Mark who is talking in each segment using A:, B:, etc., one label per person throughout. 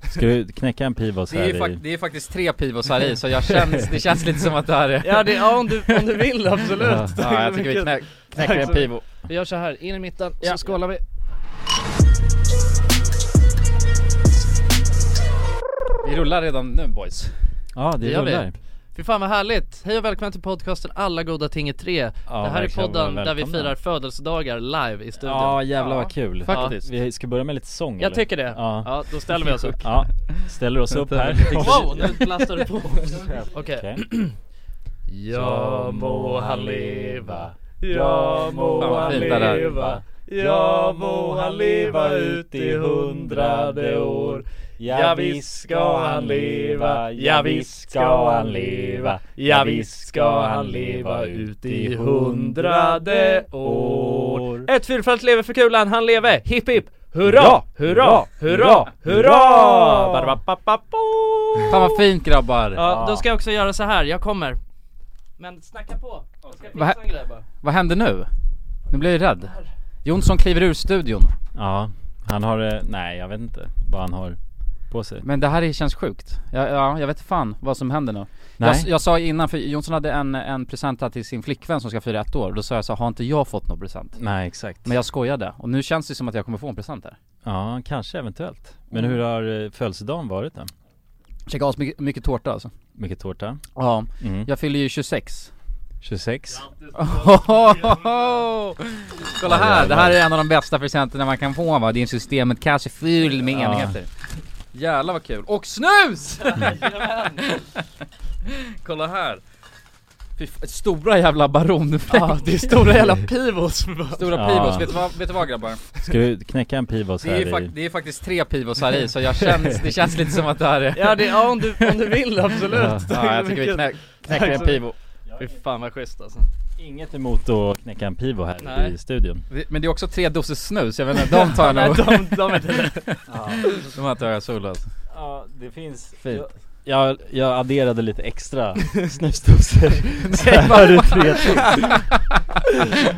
A: Ska du knäcka en Pivos
B: Det
A: här
B: är, ju
A: i...
B: fak- det är faktiskt tre pivos här i så jag känns, det känns lite som att det här är
C: Ja, det, ja om, du, om du vill absolut!
A: Ja.
B: Ja, jag tycker vi knä, knäcker en pivo
C: Vi gör så här, in i mitten,
B: Ja.
C: så skålar vi
B: Vi rullar redan nu boys
A: Ja det
C: Det gör vi.
A: rullar
C: Fy fan vad härligt! Hej och välkommen till podcasten Alla goda ting är tre
A: Ja,
C: Det här är
A: verkligen,
C: podden där vi
A: välkomna.
C: firar födelsedagar live i studion
A: Ja jävlar
B: Ja,
A: vad kul
C: faktiskt.
A: Vi ska börja med lite sång
C: Jag
A: eller?
C: tycker det!
A: Ja.
C: ja då ställer vi oss upp
A: Ja, ställer oss upp här
C: Wow, nu lastar du på! Okej
A: Okej.
C: Jag må han leva Jag
B: Fan,
C: må
B: vad
C: han
B: fint det där.
C: leva Jag må han leva ut i hundrade år Ja, visst ska han leva. Ja, visst ska han leva. Ja, visst ska han leva ut i hundrade år Ett fyrfalt lever för kulan, han leve! Hipp hipp! Hurra! Hurra! Hurra! Hurra! Barbapapapo!
B: Fan vad fint grabbar!
C: Ja, då ska jag också göra så här. jag kommer Men snacka på, jag ska
B: Va?
C: fixa en grej bara
B: Vad händer nu? Nu blir jag ju rädd Jonsson kliver ur studion
A: Ja, han har, eh, nej jag vet inte vad han har på sig
B: Men det här är- känns sjukt Ja, ja jag vet fan vad som händer nu jag,
A: Nej,
B: jag sa innan, för Jonsson hade en, en present här till sin flickvän som ska fira ett år Då sa jag så här, har inte jag fått någon present?
A: nej exakt
B: Men jag skojade, och nu känns det som att jag kommer få en present här
A: Ja, kanske eventuellt Men hur har eh, födelsedagen varit då?
B: Käkade asmycket mycket tårta alltså
A: Mycket tårta?
B: Ja,
A: Mm.
B: jag fyller ju 26
A: 26?
B: Ohohoho! Kolla här, det här är en av de bästa presenterna man kan få va? Det är systemet cash är fylld med
A: Ja.
B: enheter Jävlar vad kul, och snus!
C: Kolla här!
B: Fy f- stora jävla baron
C: Ja, det är stora jävla pivos
B: Stora
A: Ja.
B: pivos, vet, du vad, vet du vad grabbar?
A: Ska du knäcka en Pivos
B: Det
A: här
B: är, ju
A: i...
B: fak- det är faktiskt tre pivos här i så jag känns, det känns lite som att det här är
C: Ja, det, ja om, du, om du vill absolut
B: Ja jag tycker vi knä, knäcker en
C: Tack så-
B: pivo
C: Fy fan vad schysst alltså
A: Inget emot att knäcka en Pivo här
C: Nej.
A: i studion
B: Men det är också tre doser snus, jag vet inte, de tar jag
C: Nej
B: nog
C: de, de är inte
B: De här tar jag solo alltså.
A: Ja, det finns
B: Fint.
A: Jag, jag adderade lite extra snusdosor så här i tre till.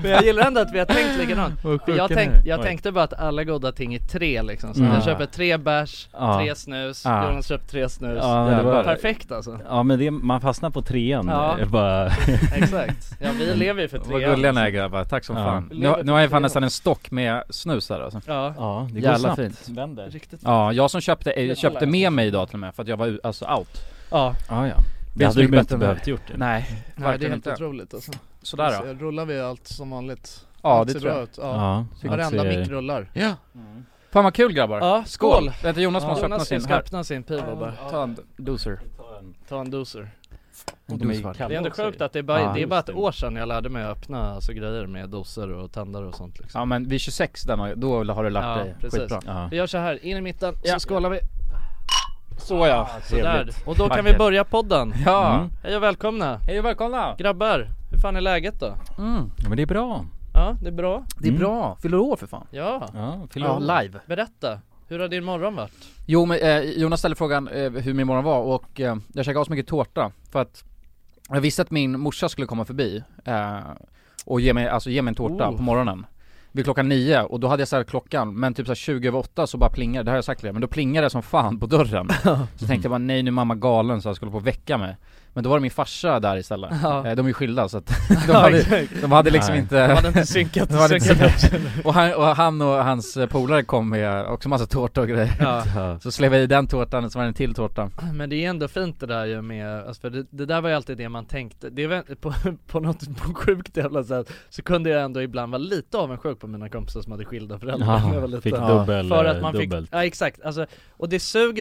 C: Men jag gillar ändå att vi har tänkt likadant För jag, tänk, jag
A: Oj.
C: tänkte bara att alla goda ting är tre liksom, så
A: Mm.
C: jag köper tre bärs,
A: Ja.
C: tre snus,
A: Ja.
C: Jonas köper tre snus
A: Ja, det var-
C: Perfekt alltså,
A: Ja men det, man fastnar på trean
C: Ja.
A: ja. bara
C: exakt Ja vi lever ju för tre
B: Vad gulliga ni är grabbar, tack som
A: Ja.
B: fan.
C: Vi
B: Nu,
C: lever
B: nu har jag
C: för
B: fan
C: det.
B: nästan en stock med snus här alltså.
C: Ja,
A: Ja det
B: Jävla
A: går snabbt
B: fint.
A: Vänder
C: riktigt
B: Ja, jag som köpte, eh,
C: alla
B: köpte
C: är
B: med mig idag till och med för att jag var u- alltså out.
C: Ja,
A: Ah, Ja ja Det hade du
B: snyggt bättre
A: inte
B: än
A: behövt gjort det
B: Nej,
D: Nej det är
B: verkligen
D: helt
B: inte.
D: otroligt alltså.
B: Sådär
D: Så
B: då.
D: Rullar vi allt som vanligt?
B: Ja
D: Allt
B: det
D: ser
B: tror
D: bra
B: jag.
D: ut. Ja.
A: Ja, eh,
D: Varenda
A: allt ser-
D: mick rullar.
C: ja,
B: Fan vad kul grabbar.
C: ja skål!
B: Vänta Jonas
C: Ja,
B: måste öppna
C: Jonas
B: sin
C: ska
B: här.
C: öppna sin pivo bara,
B: Ta en doser.
C: ta en doser
A: Och de är
B: Det är
A: kalla
C: Det är ändå
A: också.
C: sjukt att det är bara,
B: Ja,
C: det är bara
A: just
C: ett
A: det.
C: år sedan jag lärde mig att öppna alltså, grejer med doser och tändare och sånt liksom.
B: Ja men vid 26 där man, då har du lärt
C: Ja,
B: dig
C: precis.
B: skitbra.
A: Ja,
C: Vi gör så här, in i mitten, så
B: Ja.
C: skålar vi
B: Så ja.
C: där.
A: trevligt
C: Och då kan vi
B: Vackert.
C: börja podden.
B: Ja.
A: Mm.
C: Hej och välkomna!
B: Hej och välkomna!
C: Grabbar, hur fan är läget då?
B: Mm.
A: ja, men det är bra
C: Ja, det är bra?
B: Det är bra, fyller år för fan.
C: Ja,
A: Ja, fyller
B: Mm. Ja,
A: år.
B: live.
C: berätta. Hur har din morgon varit?
B: Jo men eh, Jonas ställde frågan eh, hur min morgon var och eh, jag käkade så mycket tårta för att jag visste att min morsa skulle komma förbi eh, och ge mig, alltså ge mig en tårta
C: Oh.
B: på morgonen vid klockan nio och då hade jag ställt klockan men typ såhär 20 över åtta så bara plingade, det här har jag sagt tidigare, men då plingade det som fan på dörren Så tänkte jag bara nej nu är mamma galen så jag skulle på och väcka mig Men då var det min farsa där istället,
C: Ja.
B: eh, de är ju skilda så att de hade, de hade liksom
A: Nej.
B: inte
C: hade inte synkat,
B: de hade inte
C: synkat upp.
B: och, han, och han och hans polare kom med också massa tårta och grejer
C: Ja.
A: Ja.
B: så slev jag i den tårtan och så var det en till tårta
C: Men det är ändå fint det där ju med, alltså för det, det där var ju alltid det man tänkte, det är väl, på, på något på sjukt jävla sätt Så kunde jag ändå ibland vara lite avundsjuk på mina kompisar som hade skilda föräldrar när jag var
A: Ja,
C: liten.
A: fick
B: Ja,
A: dubbel,
C: För att man
A: dubbelt
C: fick, ja exakt, alltså, och det suger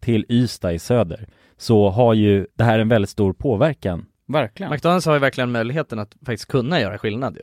A: till Ystad i söder, så har ju det här en väldigt stor påverkan.
B: Verkligen.
E: McDonalds har ju verkligen möjligheten att faktiskt kunna göra skillnad ju.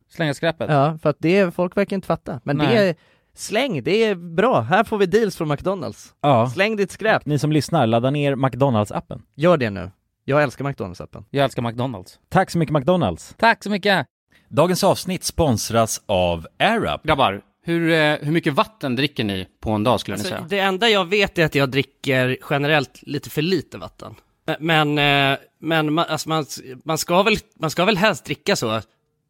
B: Slänga skräpet.
E: Ja, för att det, folk verkar inte fatta. Men det
B: Nej.
E: är, släng, det är bra. Här får vi deals från McDonalds.
A: Ja.
E: Släng ditt skräp.
A: Ni som lyssnar, ladda ner McDonalds-appen.
E: Gör det nu. Jag älskar McDonalds-appen.
B: Jag älskar McDonalds.
A: Tack så mycket McDonalds!
B: Tack så mycket!
A: Dagens avsnitt sponsras av AirUp.
F: Grabbar, hur, eh, hur mycket vatten dricker ni på en dag skulle ni
G: Alltså,
F: säga?
G: det enda jag vet är att jag dricker generellt lite för lite vatten. Ä- Men, eh, men man, alltså man, man, ska väl, man ska väl helst dricka så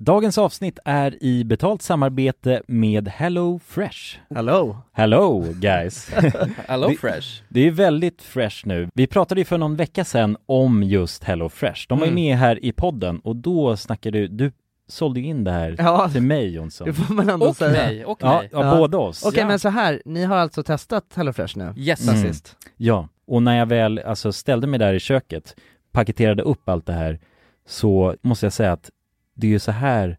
A: Dagens avsnitt är i betalt samarbete med Hello Fresh.
E: Hello.
A: Hello guys!
B: Hello
A: Det-
B: Fresh.
A: Det är väldigt fresh nu. Vi pratade ju för någon vecka sedan om just Hello Fresh. De var
E: Mm.
A: ju med här i podden och då snackade du, du sålde ju in det här
E: Ja,
A: till mig Jonsson.
E: det får man ändå
B: Och
E: säga.
B: mig, och
A: Ja,
B: mig.
A: ja,
E: Ja.
A: båda oss.
E: Okej,
B: Ja.
E: men så här, ni har alltså testat HelloFresh nu?
B: Yes.
E: Sen
A: Mm.
E: sist.
A: Ja, och när jag väl alltså, ställde mig där i köket, paketerade upp allt det här, så måste jag säga att det är ju så här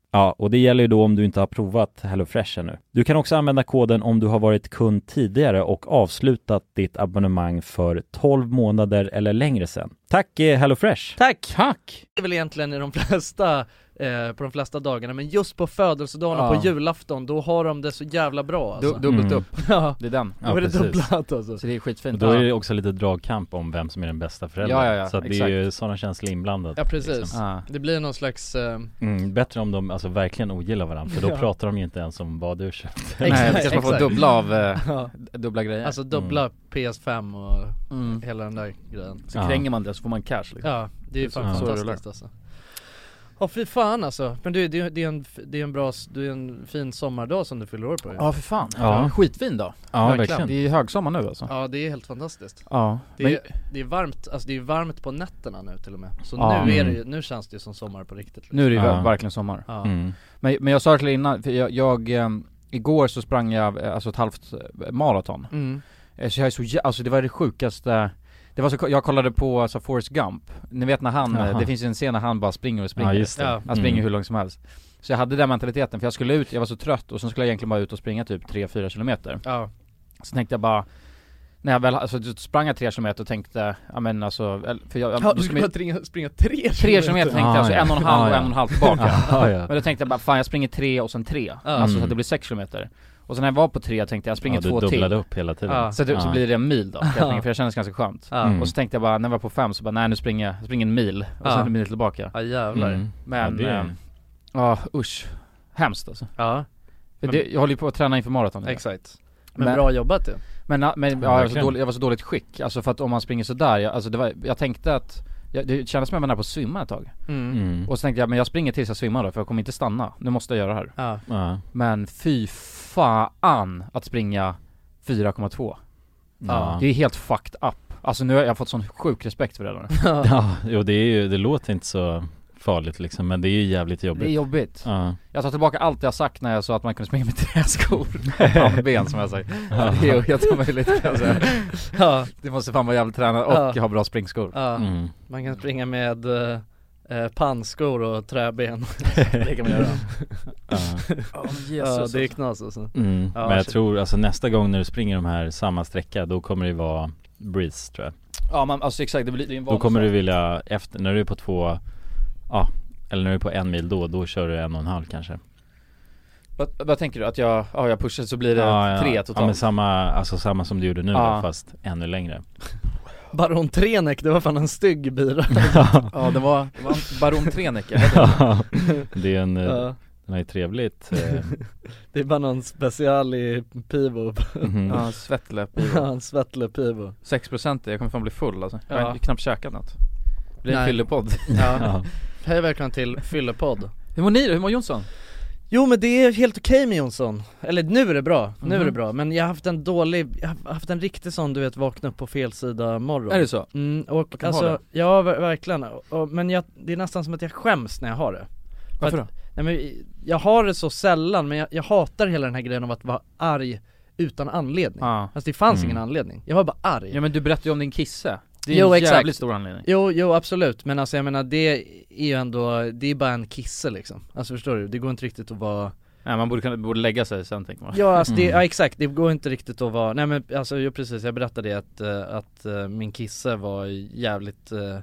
A: Ja, och det gäller ju då om du inte har provat HelloFresh ännu. Du kan också använda koden om du har varit kund tidigare och avslutat ditt abonnemang för 12 månader eller längre sedan. Tack eh, HelloFresh!
C: Tack! Tack! Det är väl egentligen i de flesta, eh, på de flesta dagarna, men just på födelsedagen och
B: Ja.
C: på julafton, då har de det så jävla bra alltså.
B: Du, dubbelt
A: Mm.
B: upp.
C: Ja.
B: Det är den.
A: Ja,
C: då är det
A: precis.
C: dubblat alltså.
B: Så det är skitfint.
A: Och då är det också lite dragkamp om vem som är den bästa föräldern.
B: Ja, ja, ja,
A: så att det är
B: exakt.
A: ju sådana känslor inblandade.
C: Ja precis,
A: liksom. Ah.
C: det blir någon slags eh,
A: Mm, bättre om de alltså verkligen ogillar varandra, för då
C: Ja.
A: pratar de ju inte ens om vad du köpte.
B: Nej,
C: Exakt,
B: exakt, man får
C: exakt.
B: dubbla av, eh,
C: Ja.
B: dubbla grejer.
C: Alltså dubbla PS5 och
B: Mm.
C: hela den där grejen
B: så
A: Ja.
B: kränger man det så får man cash liksom.
C: Ja, det är ju fan
B: så- så det
C: fantastiskt alltså Ja fy fan alltså, men du, det, det, är en, det är en bra, s- det är en fin sommardag som du fyller år på ju.
B: Ja för fan,
A: Ja.
B: skitfin då
A: Ja, verkligen.
B: Det är ju högsommar nu alltså
C: Ja det är helt fantastiskt
B: Ja,
C: Det är,
B: men,
C: det är varmt, alltså det är varmt på nätterna nu till och med Så
B: Ja.
C: nu är det
A: Mm.
C: ju, nu känns det ju som sommar på riktigt liksom.
B: nu är det ju
A: Ja.
B: verkligen sommar
C: ja.
A: Mm.
B: men, men jag sa till er innan, för jag, jag ehm, igår så sprang jag eh, alltså ett halvt eh, maraton
C: Mm.
B: Eh, Så jag är så jä- alltså det var det sjukaste det var så, jag kollade på alltså, Forrest Gump, ni vet när han, eh,
A: Jaha.
B: det finns ju en scen när han bara springer och springer
A: Ja, just det.
C: Ja.
B: Han springer
A: Mm.
B: hur långt som helst Så jag hade den mentaliteten, för jag skulle ut, jag var så trött och sen skulle jag egentligen bara ut och springa typ 3-4 kilometer
C: Ja,
B: Så tänkte jag bara när jag väl, alltså då sprang jag 3 kilometer och tänkte, ja men alltså, eller- för jag,
C: ja
B: då
C: du
B: skulle man-
C: skulle bara springa, springa tre
B: Tre kilometer tänkte jag,
A: Ah,
B: alltså
A: ja.
B: en och en halv
A: Ah,
B: och
A: ja.
B: en och en halv tillbaka
A: Ja, ja.
B: Men då tänkte jag bara, fan jag springer tre och sen tre, alltså så att det blir sex kilometer Och sen när jag var på tre tänkte jag, jag springer
A: Mm. ja, du
B: två till
A: dubblade upp hela tiden.
C: Ja.
B: så, det, så
A: Ja.
B: blir det en mil då, kan jag tänka, för jag kändes ganska skönt
C: Ja,
A: Mm.
B: Och så tänkte jag bara, när jag var på fem så bara, nej nu springer jag, jag springer en mil och
C: Ja.
B: sen en mil tillbaka
C: ja jävlar
A: Mm.
B: Men,
A: ja, det
B: eh,
A: är...
B: ja usch, hemskt alltså
C: Ja,
B: För det, Jag håller ju på att träna inför maraton nu.
C: exakt Men,
B: Men-
C: bra jobbat ju
B: Men, ja, men
A: Ja,
B: ja, jag, var så
A: verkligen.
B: dålig, jag var så dåligt skick, alltså för att om man springer sådär, jag, alltså det var, jag tänkte att jag, det kändes som att jag var nära på att svimma ett tag.
A: mm.
B: Och så tänkte jag, men jag springer tills jag svimmar då, för jag kommer inte stanna. Nu måste jag göra det här.
C: Ja,
A: ja.
B: Men fy fan att springa 4,2.
A: Ja.
B: Det är helt fucked up. Alltså nu har jag fått sån sjuk respekt för det där.
A: ja, jo det är ju, det låter inte så farligt liksom, men det är ju jävligt
B: Det är
A: jobbigt.
B: jobbigt.
A: Ja.
B: Jag tar tillbaka allt jag sagt när jag sa att man kunde springa med träskor. Och ben som jag säger. Ja, det är ju helt omöjligt kan jag säga.
C: ja,
B: Det måste fan vara jävligt tränad och
C: Ja.
B: ha bra springskor.
C: ja.
A: Mm.
C: Man kan springa med eh, eh, pannskor och träben Det kan man göra
A: Ja.
C: Ja det är knas alltså
A: Mm.
C: Ja,
A: men jag
C: shit.
A: tror, alltså nästa gång när du springer de här samma sträcka, då kommer det vara breeze tror jag.
B: Ja man, alltså exakt, det blir det är en
A: Då kommer du
B: vanlig
A: vilja, efter, när du är på två, ja, eller när du är på en mil då, då kör du en och en halv kanske
B: sak. vad, vad tänker du? Att jag, ja jag pushar så blir det
A: ja, ja.
B: tre
A: Ja
B: totalt?
A: men samma, alltså samma som du gjorde nu
B: Ja.
A: då, fast ännu längre
C: Baron Trenek, det var fan en stygg bira
B: Ja det var, det var en Baron Trenecker
A: Det är en, eh,
C: Ja,
A: den är ju trevligt eh,
C: Det är bara någon special i Pivo,
A: mhm.
B: Ja, svettläpp
C: ja, en svettle Pivo
B: 6% jag kommer fan bli full alltså.
C: Jag har
B: Jag har knappt käkat något Det
C: blir
B: blir
C: en
B: en fyllepodd
C: Ja,
A: Ja.
C: hej och välkomna till Fyllepodd
B: Hur mår ni då? Hur mår Jonsson?
C: Jo men det är helt okej med Jonsson, eller nu är det bra, nu är det
B: Mhm.
C: bra Men jag har haft en dålig, jag har haft en riktig sån du vet vakna upp på fel sida morgon
B: Är det så?
C: Mm, och
B: kan
C: alltså,
B: ha
C: ja ver- verkligen, och, men jag, det är nästan som att jag skäms när jag har det
B: Varför då?
C: Nej men jag har det så sällan, men jag, jag hatar hela den här grejen av att vara arg utan anledning
B: Ja.
C: Alltså det fanns
A: Mm.
C: ingen anledning, jag var bara arg
B: ja men du berättade ju om din kisse Det är
C: Jo,
B: en
C: exakt.
B: jävligt stor anledning
C: Jo, jo absolut, men alltså jag menar det är ju ändå, det är bara en kisse liksom Alltså förstår du, det går inte riktigt att vara
B: Nej man borde, kunna, borde lägga sig sen tänker man
C: Ja alltså det,
A: Mm.
C: ja, exakt, det går inte riktigt att vara, nej men alltså jo precis, jag berättade det att, eh, att eh, min kisse var jävligt eh,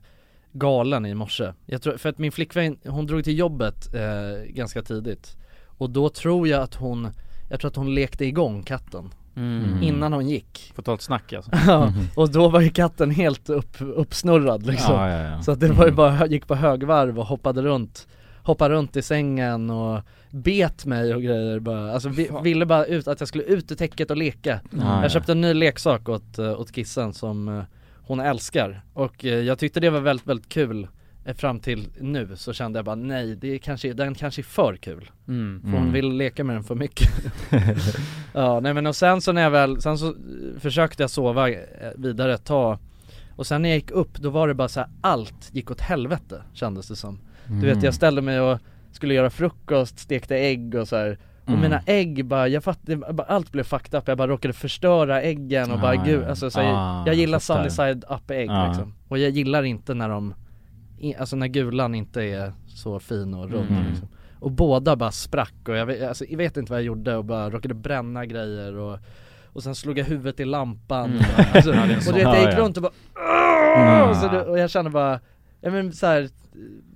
C: galen i morse Jag tror, för att min flickvän, hon drog till jobbet eh, ganska tidigt Och då tror jag att hon, jag tror att hon lekte igång katten
A: Mm.
C: innan hon gick
B: Får ta ett snack alltså
C: Ja, Och då var ju katten helt upp, uppsnurrad liksom
A: ja, ja, ja.
G: Mm.
C: så att det var ju bara, gick på högvarv och hoppade runt hoppade runt i sängen och bet mig och grejer bara, alltså vi, ville bara ut, att jag skulle ut ur täcket och leka
G: Ah, ja.
C: Jag köpte en ny leksak åt, eh, åt kissen som eh, hon älskar och eh, jag tyckte det var väldigt, väldigt kul Eh, Fram till nu så kände jag bara nej, det är kanske, den kanske är för kul
B: Mm.
C: För hon
B: Mm.
C: vill leka med den för mycket Ja nej men och sen så när jag väl, sen så eh, försökte jag sova eh, vidare ett tag Och sen när jag gick upp då var det bara så här, allt gick åt helvete kändes det som Du vet
G: Mm.
C: jag ställde mig och skulle göra frukost, stekte ägg och så här. Och
G: Mm.
C: mina ägg bara, jag fatt, det, bara, allt blev fucked up, jag bara råkade förstöra äggen och bara
G: Ah,
C: gud,
G: ja.
C: alltså så här,
G: Ah,
C: jag gillar
G: jag fattar.
C: sunny side up ägg
G: Ah.
C: liksom Och jag gillar inte när de, i- alltså när gulan inte är så fin och rund
G: Mm.
C: liksom. Och båda bara sprack och jag vet, alltså, jag vet inte vad jag gjorde och bara råkade bränna grejer och och sen slog jag huvudet i lampan
G: Mm.
C: och, bara, alltså,
G: Ja, det är en
C: och
G: sån.
C: du vet jag
G: Ja,
C: gick
G: ja.
C: runt och bara "Åh!" och, så,
G: Mm.
C: du- och jag kände bara, ja men så här,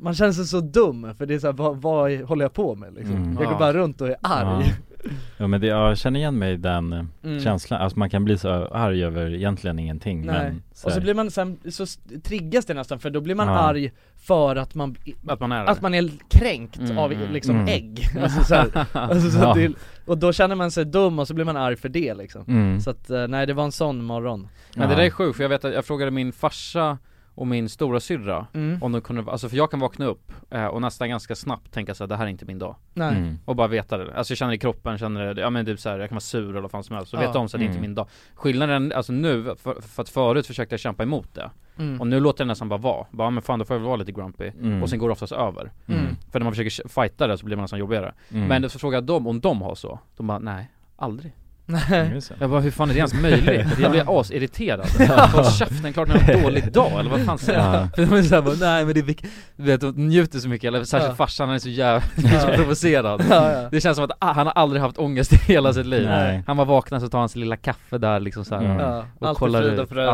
C: man känner sig så dum för det är så här, vad, vad håller jag på med liksom?
A: Mm.
C: Jag går
A: Ja.
C: bara runt och är arg
A: Ja, ja men det, ja, jag känner igen mig i den eh,
C: Mm.
A: känslan, alltså man kan bli så arg över egentligen ingenting
C: Nej.
A: men så
C: och så
A: här-
C: blir man sen, så s- triggas det nästan för då blir man
A: Ja.
C: arg för att man,
B: att man är
C: att man är kränkt
B: Mm,
C: av
B: mm.
C: liksom
B: Mm.
C: ägg alltså, så här, alltså, så
B: Ja.
C: att det, Och då känner man sig dum och så blir man arg för det liksom
B: Mm.
C: Så att, eh, nej det var en sån morgon
B: Men det där är sjukt för jag vet att jag frågade min farsa och min stora syrra
C: Mm.
B: om de kunde, alltså för jag kan vakna upp eh, och nästan ganska snabbt tänka såhär, det här är inte min dag
C: Nej. Mm.
B: Och bara veta det, alltså jag känner det i kroppen, känner det, ja men typ såhär, jag kan vara sur eller vad fan som helst, så
C: Ja.
B: vet om så att det inte är
C: Mm.
B: min dag Skillnaden, alltså nu, för, för att förut försökte jag kämpa emot det
C: Mm.
B: Och nu låter det nästan bara vara, bara men fan då får jag väl vara lite grumpy
A: Mm.
B: Och sen går det oftast över
A: Mm.
B: För när man försöker fighta det så blir man nästan jobbigare
A: Mm.
B: Men så frågar jag dem om de har så, de bara nej, aldrig
A: Mm.
C: Nej.
B: Jag bara hur fan är det ens möjligt? Jag blir asirriterad Håll käften, klart ni har en dålig dag eller vad fan säger
C: Ja.
B: jag? För de är såhär bara, nej men det är vik-" du vet, de njuter så mycket, eller särskilt
C: Ja.
B: farsan han är så jävla så
C: Ja.
B: provocerad
C: Ja, ja.
B: Det känns som att ah, han har aldrig haft ångest i hela sitt liv
C: Nej.
B: Han bara vaknar så tar han sin lilla kaffe där liksom såhär
C: Mm. Ja, allt är frid och fröjd,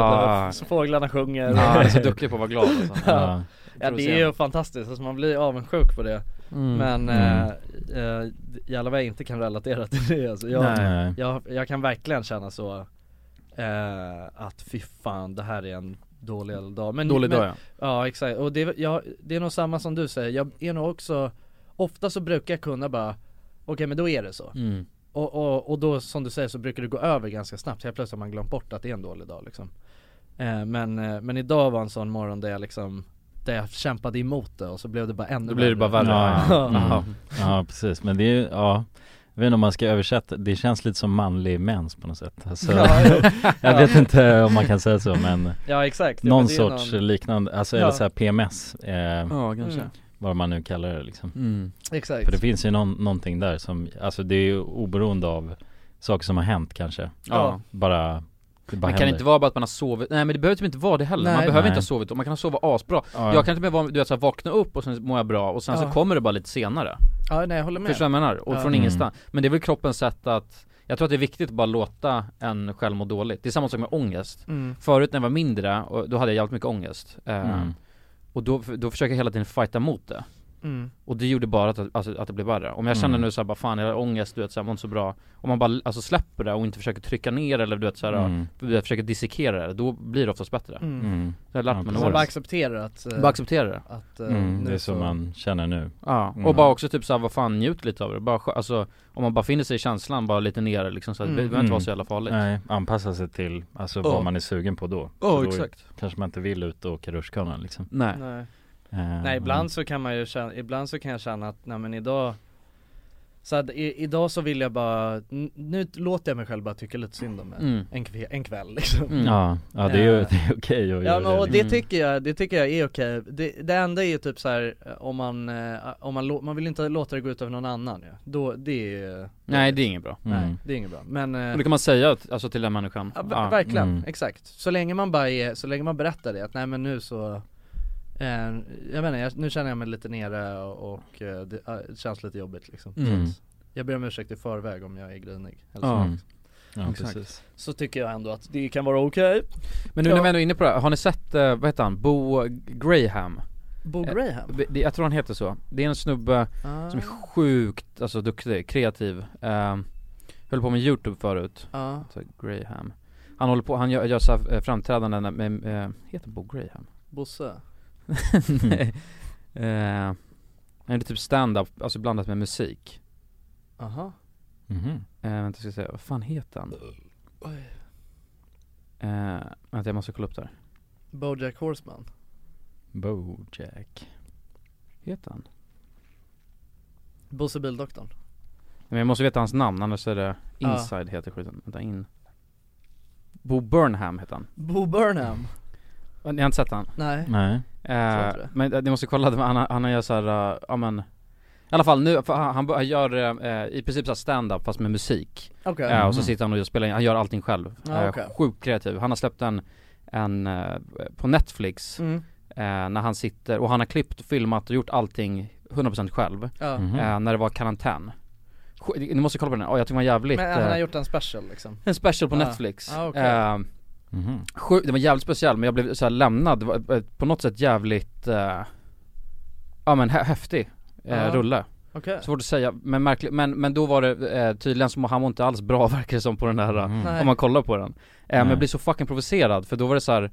C: och så fåglarna sjunger.
B: Ja, han är så duktig på att vara glad alltså.
C: Ja. Ja det är ju fantastiskt, alltså man blir avundsjuk på det
B: Mm.
C: Men
B: Mm.
C: eh, eh, jävlar vad jag inte kan relatera till det alltså.
A: Nej.
C: jag, jag, jag kan verkligen känna så eh, att fy fan det här är en dålig jävla dag men,
B: Dålig
C: men,
B: dag, ja.
C: Ja exakt, och det, är- jag, det är nog samma som du säger, jag är nog också Ofta så brukar jag kunna bara, okej men då är det så
B: Mm.
C: och, och, och då som du säger så brukar det gå över ganska snabbt, helt plötsligt har man glömt bort att det är en dålig dag liksom eh, men, eh, men idag var en sån morgon där jag liksom där jag kämpade emot det och så blev det bara ännu
B: Då blir det bara värre.
A: Ja,
B: Ja.
A: ja.
B: Ja.
A: Mm. ja precis, men det är ju, ja jag vet inte om man ska översätta, det känns lite som manlig mens på något sätt alltså,
C: Ja, ja.
A: Jag
C: Ja.
A: vet inte om man kan säga så men
C: Ja, exakt. Ja, men
A: Någon
C: det är ju
A: sorts
C: någon-
A: liknande, alltså
C: Ja.
A: eller såhär PMS eh,
B: Ja, kanske. Mm.
A: Vad man nu kallar det liksom
B: Mm.
C: Exakt.
A: För det finns ju någon, någonting där som, alltså det är ju oberoende av saker som har hänt kanske
B: Ja.
A: Bara, det bara
B: Men kan det
A: händer.
B: inte vara bara att man har sovit, nej men det behöver typ inte vara det heller,
A: Nej.
B: man behöver
A: Nej.
B: inte ha sovit, man kan sova asbra
A: Ja.
B: Jag kan inte behöva, du vet såhär vakna upp och sen mår jag bra och sen så
C: Ja.
B: kommer det bara lite senare
C: Ja nej jag håller med
B: Förstår du vad jag menar? Och
C: Ja.
B: från ingenstans, men det är väl kroppens sätt att jag tror att det är viktigt att bara låta en själv må dåligt, det är samma sak med ångest
C: Mm.
B: Förut när jag var mindre, och då hade jag jävligt mycket ångest Eh,
A: Mm.
B: Och då, då försöker jag hela tiden fighta mot det
C: Mm.
B: Och det gjorde bara att, alltså, att det blev värre. Om jag känner
A: Mm.
B: nu såhär bara fan jag har ångest, du vet såhär, mår inte så bra Om man bara alltså släpper det och inte försöker trycka ner eller du vet såhär,
A: Mm.
B: du vet, eh, försöker dissekera det, då blir det oftast bättre
C: Mm.
A: Mm.
B: Det har jag lärt
A: Ja,
B: mig med
A: precis.
B: åren.
C: Bara acceptera att eh,
B: Bara acceptera det.
C: Att eh,
A: mm, Det
C: nu
A: är så man känner nu
B: Ja, och
A: Mm.
B: bara också typ såhär, vad fan njut lite av det, bara skö- alltså Om man bara finner sig i känslan, bara lite nere liksom så att det
A: Mm.
B: behöver inte vara
A: Mm.
B: så jävla farligt
A: Nej, anpassa sig till alltså
B: Ja.
A: vad man är sugen på då
B: Ja,
A: För då
B: exakt.
A: kanske man inte vill ut och åka rutschkana liksom
B: Nej.
C: Nej.
A: Eh,
E: Ah.
C: Nej ibland så kan man ju känna, ibland så kan jag känna att nej men idag så att i, idag så vill jag bara, n- nu låter jag mig själv bara tycka lite synd om mig
A: Mm.
C: en, kv, en kväll liksom
A: Mm. Ja, ja, det är ju- det är okej att
C: Eh. Ja
A: göra
C: men
A: det,
C: och det
A: liksom.
C: tycker jag, det tycker jag är okej det, det enda är ju typ så här eh, om man, eh, om man, lå- man vill inte låta det gå ut över någon annan ju Då, det är eh,
B: Nej det är inget bra
C: Nej, det är inget bra men eh,
B: Och det kan man säga att- alltså till den människan
C: Ja, ver- verkligen,
B: Mm.
C: exakt. Så länge man bara är, så länge man berättar det att nej men nu så eh, Jag menar, jag, nu känner jag mig lite nere och, och eh, det eh, känns lite jobbigt liksom
A: Mm.
C: så att Jag ber om ursäkt i förväg om jag är grinig eller
B: Ja.
C: så.
B: Mm. Ja,
C: Exakt.
B: precis.
C: Så tycker jag ändå att det kan vara okej
B: Men nu när vi ändå är inne på det, här, har ni sett, eh, vad heter han, Bo Graham?
C: Bo
B: Eh,
C: Graham?
B: det- Jag tror han heter så, det är en snubbe
C: ah,
B: som är sjukt, alltså duktig, kreativ eh, Höll på med youtube förut,
C: Ja.
B: Så Graham Han håller på, han gör, gör så här, eh, framträdanden med, med, eh, heter Bo Graham?
C: Bosse
B: Eh, Nej det är typ stand-up, alltså blandat med musik
C: Aha.
A: Mhm.
B: Eh, vänta ska jag säga, vad fan heter han? Eh, vänta jag måste kolla upp det här
C: Bojack Horseman
B: Bojack Heter han?
C: Bosse Bildoktorn
B: Nej, Men jag måste veta hans namn, annars är det
C: Ja.
B: Inside heter skiten, vänta in Bo Burnham heter han
C: Bo Burnham
B: Ja, Ni har inte sett han?
C: Nej.
A: Nej.
C: tror
B: Eh,
C: inte det.
B: men eh, ni måste kolla, han, han gör såhär, uh, ja men I alla fall nu, för han, han bör- gör eh, i princip såhär stand-up fast med musik
C: Okej.
B: Eh, Och så
C: Mhm.
B: sitter han och spelar in, han gör allting själv
C: Ja,
B: Eh,
C: Ah, okej.
B: Sjukt kreativ, han har släppt en, en eh, på Netflix
C: Mm.
B: eh, När han sitter, och han har klippt, filmat och gjort allting 100% själv
C: Ja. Mhm.
B: eh, När det var karantän Sj- Ni måste kolla på den, här. Ja, jag tycker den var jävligt
C: Men han
B: eh,
C: har gjort en special liksom
B: en special på
C: Ja.
B: Netflix
C: Ja, Ah, okej.
B: Eh,
C: Mhm.
B: sjuk, Det var jävligt speciell men jag blev så här lämnad, Det var, eh, på något sätt jävligt eh, Ja men hä- häftig eh,
C: Ja.
B: rulle
C: Okej.
B: Svårt att säga, men märkligt, men, men då var det eh, tydligen som han var inte alls bra verkar det som på den där, eh,
C: Nej.
B: om man kollar på den eh, Men
C: Mm. Nej.
B: jag blir så fucking provocerad för då var det så här.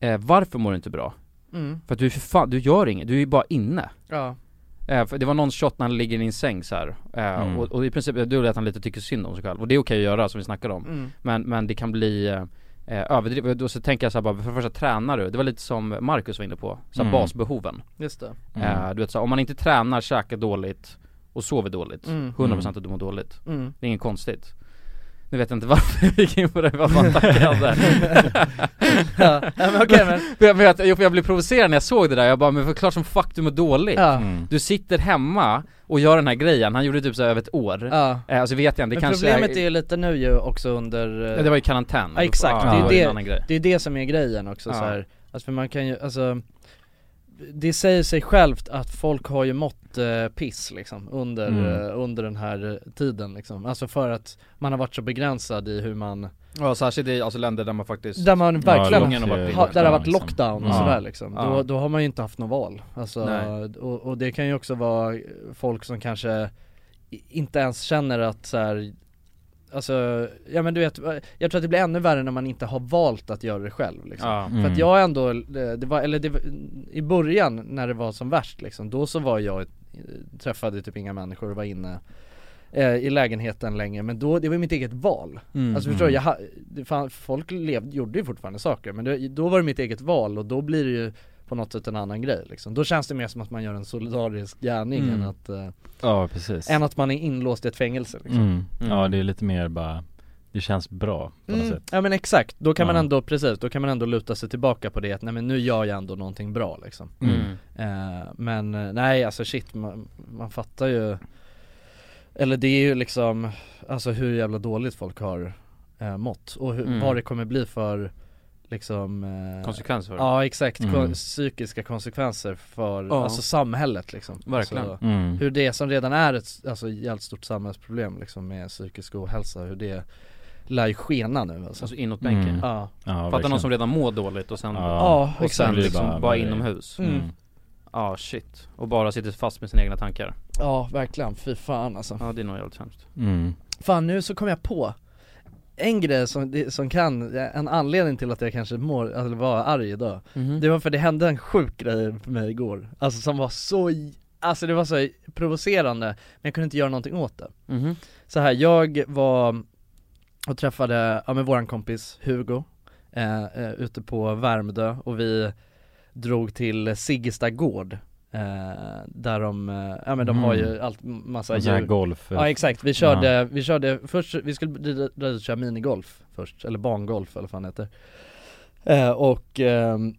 B: Eh, varför mår du inte bra?
C: Mm.
B: För att du är för fan, du gör inget, du är ju bara inne
C: Ja.
B: Eh, för det var någon shot när han ligger i din säng så här. Eh,
C: Mm.
B: och, och i princip, du lät han lite tycker synd om sig själv. Och det är okej att göra som vi snackade om.
C: Mm.
B: Men, men det kan bli eh, eh, överdrivet. Och Då så tänker jag så här bara, för det första tränar du. Det var lite som Marcus var inne på. Så här
C: Mm.
B: basbehoven.
C: Just det.
B: Eh, du vet så här, om man inte tränar, käkar dåligt och sover dåligt.
C: Mm.
B: 100% att du mår dåligt.
C: Mm.
B: Det är inget konstigt. Nu vet jag inte varför jag gick in på det, jag var taggad där.
C: Ja, men okej, men-
B: För jag, men jag, jo, för jag blev provocerad när jag såg det där, jag bara men förklart som fuck du mår dåligt
C: Ja. Mm.
B: Du sitter hemma och gör den här grejen, han gjorde typ så här över ett år
C: Ja.
B: eh, Alltså vet jag inte, det
C: Men
B: kanske
C: problemet är ju lite nu ju också under eh,
B: Ja, det var ju karantän.
C: Ja exakt,
B: Ja, det var
C: det,
B: ju en
C: är
B: annan
C: ju
B: grej.
C: det, det är det som är grejen också
B: Ja.
C: så här. Alltså för man kan ju, alltså Det säger sig självt att folk har ju mått eh, piss liksom under,
B: Mm.
C: eh, under den här eh, tiden liksom Alltså för att man har varit så begränsad i hur man
B: Ja särskilt i alltså, länder där man faktiskt
C: Där man verkligen,
E: Eh,
C: ha, där det har varit lockdown och
B: Ja.
C: sådär liksom
B: Ja.
C: då, då har man ju inte haft något val alltså,
B: Nej.
C: och, och det kan ju också vara folk som kanske i- inte ens känner att så här. Alltså, ja men du vet, jag tror att det blir ännu värre när man inte har valt att göra det själv liksom.
B: Ja.
C: För
B: Mm.
C: att jag ändå, eh, det var, eller det, var- i början när det var som värst liksom, då så var jag, träffade typ inga människor och var inne eh, i lägenheten länge men då, det var mitt eget val.
B: Mm.
C: Alltså förstår du, jag,
B: Mm.
C: ha- det fan, folk levde, gjorde ju fortfarande saker men det, då var det mitt eget val och då blir det ju på något sätt en annan grej liksom. Då känns det mer som att man gör en solidarisk gärning
A: Mm.
C: än att eh,
A: Ja, precis.
C: Än att man är inlåst i ett fängelse liksom.
A: Mm. Ja, det är lite mer bara, det känns bra på något
C: Mm.
A: sätt.
C: Ja men exakt, då kan man
A: Ja.
C: ändå, precis, då kan man ändå luta sig tillbaka på det att nej men nu gör jag ändå någonting bra liksom
A: Mm.
C: Eh, Men eh, nej alltså shit, man, man fattar ju Eller det är ju liksom, alltså hur jävla dåligt folk har eh, mått och hur,
B: Mm.
C: vad det kommer bli för liksom eh,
B: Konsekvenser för det.
C: Ja exakt, kon-
B: Mm.
C: psykiska konsekvenser för
B: Ja.
C: alltså samhället liksom
B: Verkligen.
C: alltså,
B: Mm.
C: Hur det som redan är ett alltså, jävligt stort samhällsproblem liksom med psykisk ohälsa, hur det lär ju skena nu alltså,
B: alltså inåt bänken
C: mm. ja.
B: Fattar någon som redan mår dåligt och sen,
C: Ja,
B: och
C: exakt.
B: sen
C: Det blir
B: liksom bara,
C: bara- bara-
B: inomhus
C: Mm.
B: Ja shit, och bara sitter fast med sina egna tankar
C: Ja verkligen, fy fan alltså
B: Ja det är nog jävligt hemskt
A: Mm.
C: Fan nu så kom jag på en grej som, det- som kan, en anledning till att jag kanske mår, eller var arg idag
B: Mhm.
C: Det var för det hände en sjuk grej för mig igår, alltså som var så, j- alltså det var så provocerande Men jag kunde inte göra någonting åt det
B: Mhm.
C: Så här, jag var och träffade, ja men våran kompis Hugo eh, eh, Ute på Värmdö och vi drog till Siggesta gård eh, Där de, eh, ja men de har ju
A: Mm.
C: allt, massa
A: En sån här
C: djur
A: golf-
C: Ja exakt, vi körde, vi körde först, vi skulle dra- dra dit och köra minigolf först, eller bangolf eller vad fan heter eh, Och ehm,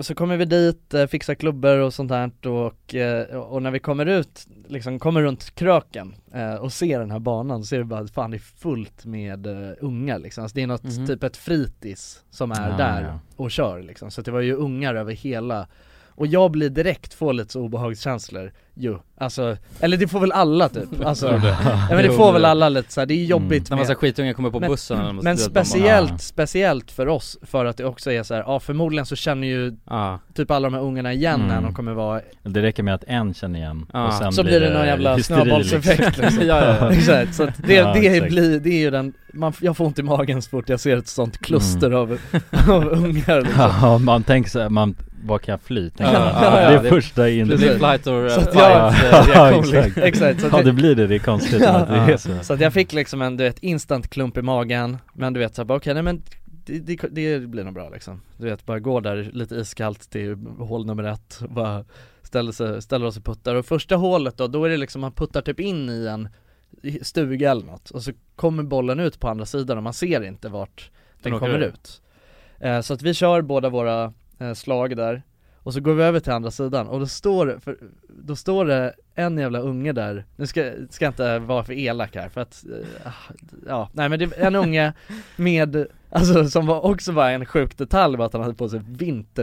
C: så kommer vi dit, eh, fixar klubbor och sånt här och, eh, och när vi kommer ut, liksom kommer runt kröken eh, och ser den här banan så ser vi bara att fan det är fullt med eh, ungar liksom, alltså det är något,
B: Mhm.
C: typ ett fritids som är
B: Ah,
C: där
B: ja.
C: och kör liksom, så att det var ju ungar över hela och jag blir direkt, får lite så obehagskänslor ju, alltså, eller det får väl alla typ, alltså,
B: Tror du?
C: ja, men det
B: Jo, Mm.
C: får väl
B: det-
C: alla lite så här, det är jobbigt
B: När
C: med
B: massa skitungar kommer på
C: men,
B: bussen eller något
C: Men
B: sånt där, de bara-
C: speciellt,
B: Ja.
C: speciellt för oss, för att det också är så här, ja förmodligen så känner ju typ alla de här ungarna igen när
A: Mm.
C: de kommer vara
A: Det räcker med att en känner igen och sen
C: så blir det någon jävla
A: hysteri,
C: snöbollseffekt liksom. Exakt, så att det,
A: Ja,
C: det,
A: exakt.
C: Blir, det är ju den, man, jag får ont i magen så fort jag ser ett sånt kluster av, av ungar liksom.
A: Ja, man tänker så här, man vad kan jag fly?
C: Ja,
A: Tänker jag.
C: ja, ja,
A: det är
C: det-
A: första in...
C: precis. Det blir flight or, Så att
A: ja,
C: jag-
A: ja,
C: fight, eh, reaktion.
A: exakt.
C: Exakt, så att
A: ja
C: det-
A: det blir det, det är konstigt att det är så
C: Så att jag fick liksom en du vet instant klump i magen Men du vet såhär bara okej nej men det, det, det blir nog bra liksom Du vet bara går där lite iskallt till hål nummer ett och bara ställer, sig, ställer oss och puttar och första hålet då, då är det liksom man puttar typ in i en i- stuga eller något och så kommer bollen ut på andra sidan och man ser inte vart den,
B: Den åker
C: kommer
B: ur.
C: ut eh, Så att vi kör båda våra eh, slag där och så går vi över till andra sidan och då står det, för, då står det en jävla unge där, nu ska, ska jag inte vara för elak här för att, eh, ah, ja, nej men det är en unge med, alltså som var också var en sjuk detalj var att han hade på sig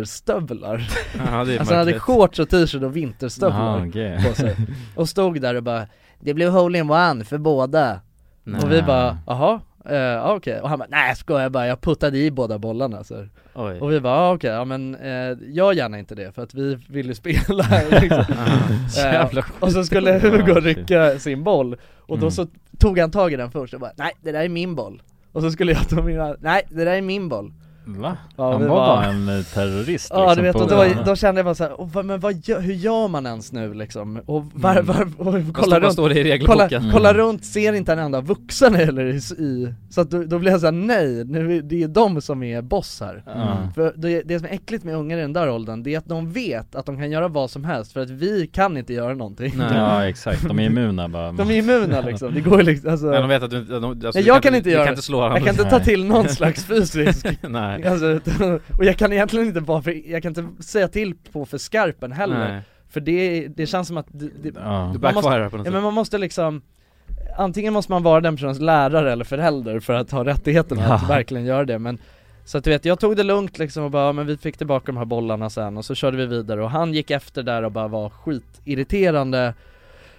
C: vinterstövlar
B: Ja, det är
C: Alltså han hade
B: märkligt.
C: shorts och t-shirt och vinterstövlar
A: Jaha, okej.
C: på sig Och stod där och bara, det blev hole-in-one för båda Och vi
A: Nej.
C: bara, jaha, eh, ja okej, och han bara, nej jag skojar bara, jag puttade i båda bollarna så
B: Oj.
C: Och vi bara, ah, okej, ja men eh, gör gärna inte det för att vi vill ju spela liksom.
B: Så
C: Eh,
B: jävla
C: Och så
B: skit.
C: skulle Hugo
B: Ja, shit.
C: rycka sin boll och då
B: Mm.
C: så tog han tag i den först och bara, nej det där är min boll Och så skulle jag ta mina, nej det där är min boll
A: Va?
C: Ja,
A: Han
C: vi
A: var
C: bara-
A: bara en eh, terrorist
C: Ja
B: liksom,
C: du vet,
A: på-
C: och då, då kände jag bara såhär, "Åh, vad- men vad gör, hur gör man ens nu liksom? Och var,
B: Mm.
C: var, och,
B: Vad
C: kolla
B: står- vad
C: runt,
B: står det i
C: kolla,
B: regelboken? Mm.
C: kolla runt, ser inte en enda vuxen eller i, i Så att då, då blev jag såhär, nej, nu, är- det är de som är boss här
B: Mm.
C: För det, det som är äckligt med ungar i den där åldern, det är att de vet att de kan göra vad som helst för att vi kan inte göra någonting
A: Ja exakt, de är immuna bara
C: De är immuna liksom, det går ju liksom alltså...
B: Nej, de vet att du inte- de- alltså,
C: Nej,
B: du
C: jag
B: kan
C: kan
B: inte-
C: inte
B: du
C: göra
B: kan inte slå
C: Jag
B: dem.
C: kan inte ta
B: Nej.
C: till någon slags fysisk
B: Nej.
C: alltså, utan- Och jag kan egentligen inte vara för, jag kan inte säga till på för skarpen heller
B: Nej.
C: För det, det känns som att det, det,
B: Ja. Du
C: man måste,
B: backfirar på något
C: ja,
B: sätt.
C: men man måste liksom Antingen måste man vara den personens lärare eller förälder för att ha rättigheterna att
B: Ja.
C: verkligen göra det men Så att du vet, jag tog det lugnt liksom och bara, ja, men vi fick tillbaka de här bollarna sen och så körde vi vidare och han gick efter där och bara var skitirriterande